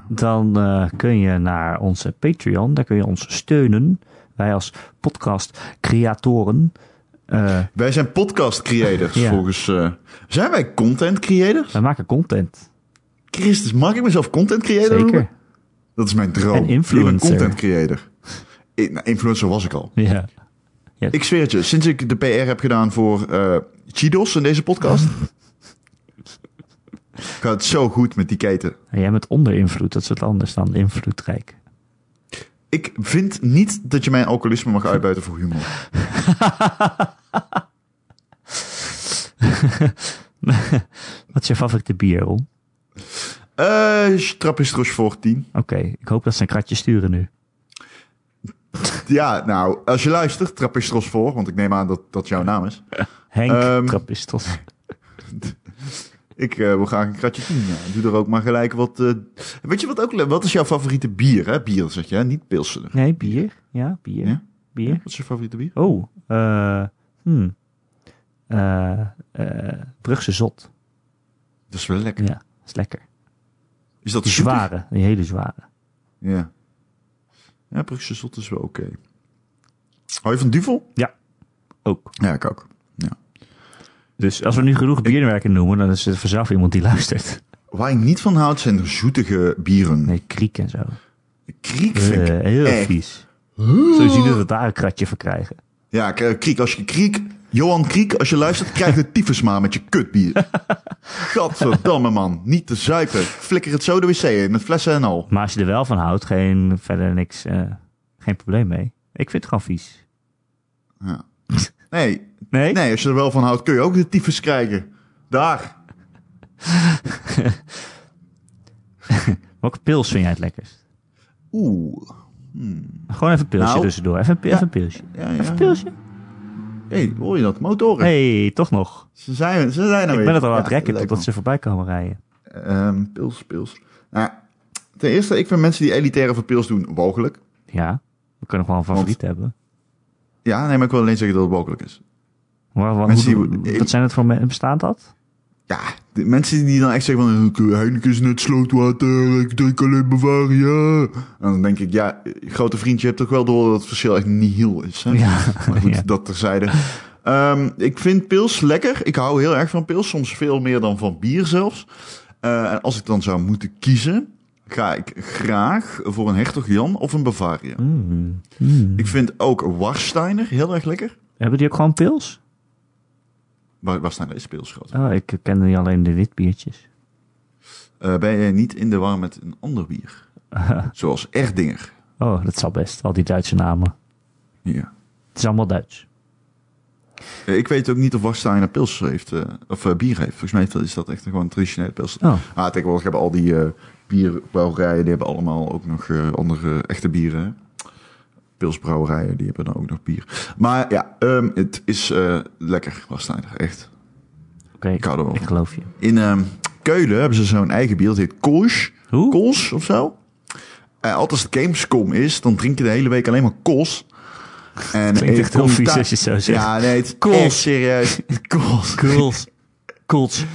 Dan eh, kun je naar onze Patreon. Daar kun je ons steunen. Wij als podcast-creatoren. eh, Wij zijn podcast creators Ja. volgens... eh, zijn wij content creators? wij maken content. Christus, mag ik mezelf content creator Zeker. noemen? Dat is mijn droom. En influencer. Ik ben content creator. Ik- nou, influencer was ik al. Ja. Ik zweer het je, sinds ik de PR heb gedaan voor eh Chidos in deze podcast... gaat het zo goed met die keten. En jij bent onder invloed. Dat is wat anders dan invloedrijk. Ik vind niet dat je mijn alcoholisme mag uitbuiten voor humor. wat is je favoriete bier, Ron? Eh, Eh, Strapistrosh 14. Oké, ik hoop dat ze een kratje sturen nu. Ja, nou, als je luistert, Trapistros voor, want ik neem aan dat dat jouw naam is. Henk Ehm, Trappistos. Ik eh, wil graag een kratje zien. Ja. Doe er ook maar gelijk wat... eh, weet je wat ook... le- Wat is jouw favoriete bier, hè? Bier, zeg je, hè? Niet pilsen. Nee, bier. Ja, bier. Ja? Bier. Wat is je favoriete bier? Oh, eh hmm. Eh, eh, Brugse zot. Dat is wel lekker. Ja, is lekker. Is dat Die zoeter? zware, die hele zware. Ja. Ja, Brugse Zot is wel oké. Hou je van Duvel? Ook. Ja, ik ook. Dus als we nu genoeg bierwerken noemen, dan is er vanzelf iemand die luistert. Waar ik niet van houd zijn de zoetige bieren. Nee, kriek en zo. Kriek vind ik Eh, heel echt- vies. Zo zien dat we daar een kratje voor krijgen. Ja, k- Kriek, als je Kriek... Johan Kriek, als je luistert, krijg je tyfus maar met je kutbier. Gadverdamme, man. Niet te zuipen. Flikker het zo de wc in, met flessen en al. Maar als je er wel van houdt, geen, verder niks, eh, geen probleem mee. Ik vind het gewoon vies. Ja. Nee, Nee? nee, als je er wel van houdt, kun je ook de tyfus krijgen. Daar. Welke pils vind jij het lekkerst? Oeh. Gewoon even een pilsje Nou. tussendoor. Even, een pi- even een pilsje. Ja, Even ja. een pilsje. hey, hoor je dat? Motoren. hey, toch nog. Ze zijn, ze zijn er Ik weer. ben het al aan Nou, Ja, het rekken leuk, totdat ze voorbij komen rijden. Ehm, pils, pils. Nou, ten eerste, ik vind mensen die elitair over pils doen walgelijk. Ja, we kunnen gewoon een favoriet hebben. Ja, nee, maar ik wil alleen zeggen dat het walgelijk is. Waar, waar, mensen hoe- die- wat zijn het voor mensen? Bestaat dat? Ja, de mensen die dan echt zeggen van... "Eh, Heineken is net slootwater, ik drink alleen Bavaria. En dan denk ik, ja, eh, grote vriend, je hebt toch wel door dat het verschil echt niet heel is. Hè? Ja, Maar goed, ja. dat terzijde. Ehm, ik vind pils lekker. Ik hou heel erg van pils. Soms veel meer dan van bier zelfs. Eh, en als ik dan zou moeten kiezen... ga ik graag voor een Hertog Jan of een Bavaria. Mm, mm. Ik vind ook Warsteiner heel erg lekker. Hebben die ook gewoon pils? Wa- Warsteiner is pils, schat. Oh, ik ken die alleen de witbiertjes. Eh, ben je niet in de war met een ander bier? Zoals Erdinger. Oh, dat zal best. Al die Duitse namen. Ja. Het is allemaal Duits. Eh, Ik weet ook niet of Warsteiner pils heeft, eh, of eh, bier heeft. Volgens mij heeft- is dat echt gewoon een traditionele pils. Oh. Ah, tegenwoordig hebben al die eh bierbrouwerijen, die hebben allemaal ook nog eh, andere echte bieren. hè. Pilsbrouwerijen, die hebben dan ook nog bier. Maar ja, ehm, het is eh, lekker, Warsteiner, echt. Oké, Ik hou er wel ik van. geloof je. In ehm, Keulen hebben ze zo'n eigen bier, dat heet Kolsch. Hoe? Kools of zo. Eh, altijd als het Gamescom is, dan drink je de hele week alleen maar kools. En eh, Klinkt echt heel kom vies thuis- als je het zo zegt. Ja, nee, het is Kools. echt serieus. Kools. Kuls. Kuls.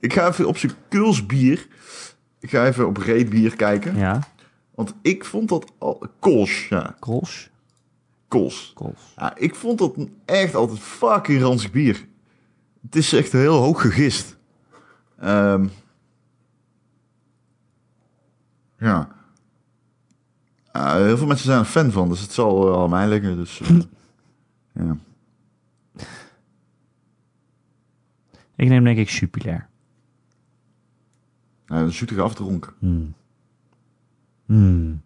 Ik ga even op zijn Kuls bier. Ik ga even op Reet bier kijken. Ja, Want ik vond dat al... Kools, ja. Kuls. Kools. Kuls. Ja, ik vond dat echt altijd fucking ranzig bier. Het is echt heel hoog gegist. Ehm, ja. Ah, heel veel mensen zijn er fan van, dus het zal eh, al mij liggen. Dus, eh, ja. Ik neem denk ik Jupiler. Nou, een zoetige afdronk. Hmm. Hmm.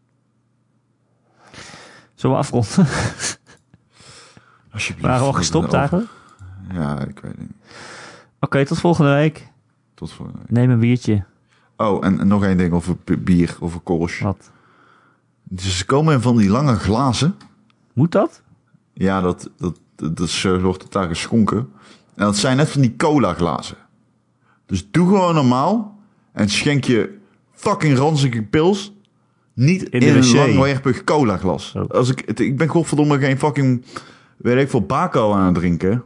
Zullen we afronden? Alsjeblieft. Waren we al gestopt eigenlijk? Oké, Ja, ik weet het niet. tot volgende week. Tot voor. Neem een biertje. Oh, en, en nog één ding over b- bier, over kools. Wat? Dus ze komen in van die lange glazen. Moet dat? Ja, dat, dat, dat, dat is, eh, wordt het daar geschonken. En dat zijn net van die cola glazen. Dus doe gewoon normaal en schenk je fucking ranzige pils niet in, de een wc. langwerpig cola glas. Oh. Als ik, het- ik ben godverdomme geen fucking, weet ik veel, Baco aan het drinken.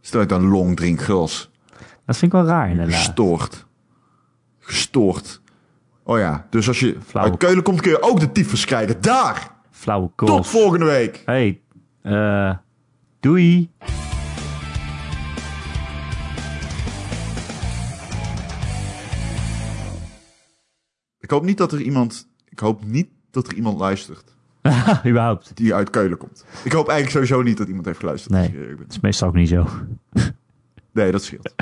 Stel ik dan long drinkglas. Dat vind ik wel raar inderdaad. Gestoord. Gestoord. Oh ja, dus als je Flauw. uit Keulen komt kun je ook de tyfus krijgen. Daar! Flauwe Tot Kuls. volgende week! Hey, eh, doei. Ik hoop niet dat er iemand. Ik hoop niet dat er iemand luistert Ah, Überhaupt. die uit Keulen komt. Ik hoop eigenlijk sowieso niet dat iemand heeft geluisterd. Nee. Dus, eh, ik ben- Dat is meestal ook niet zo. nee dat scheelt.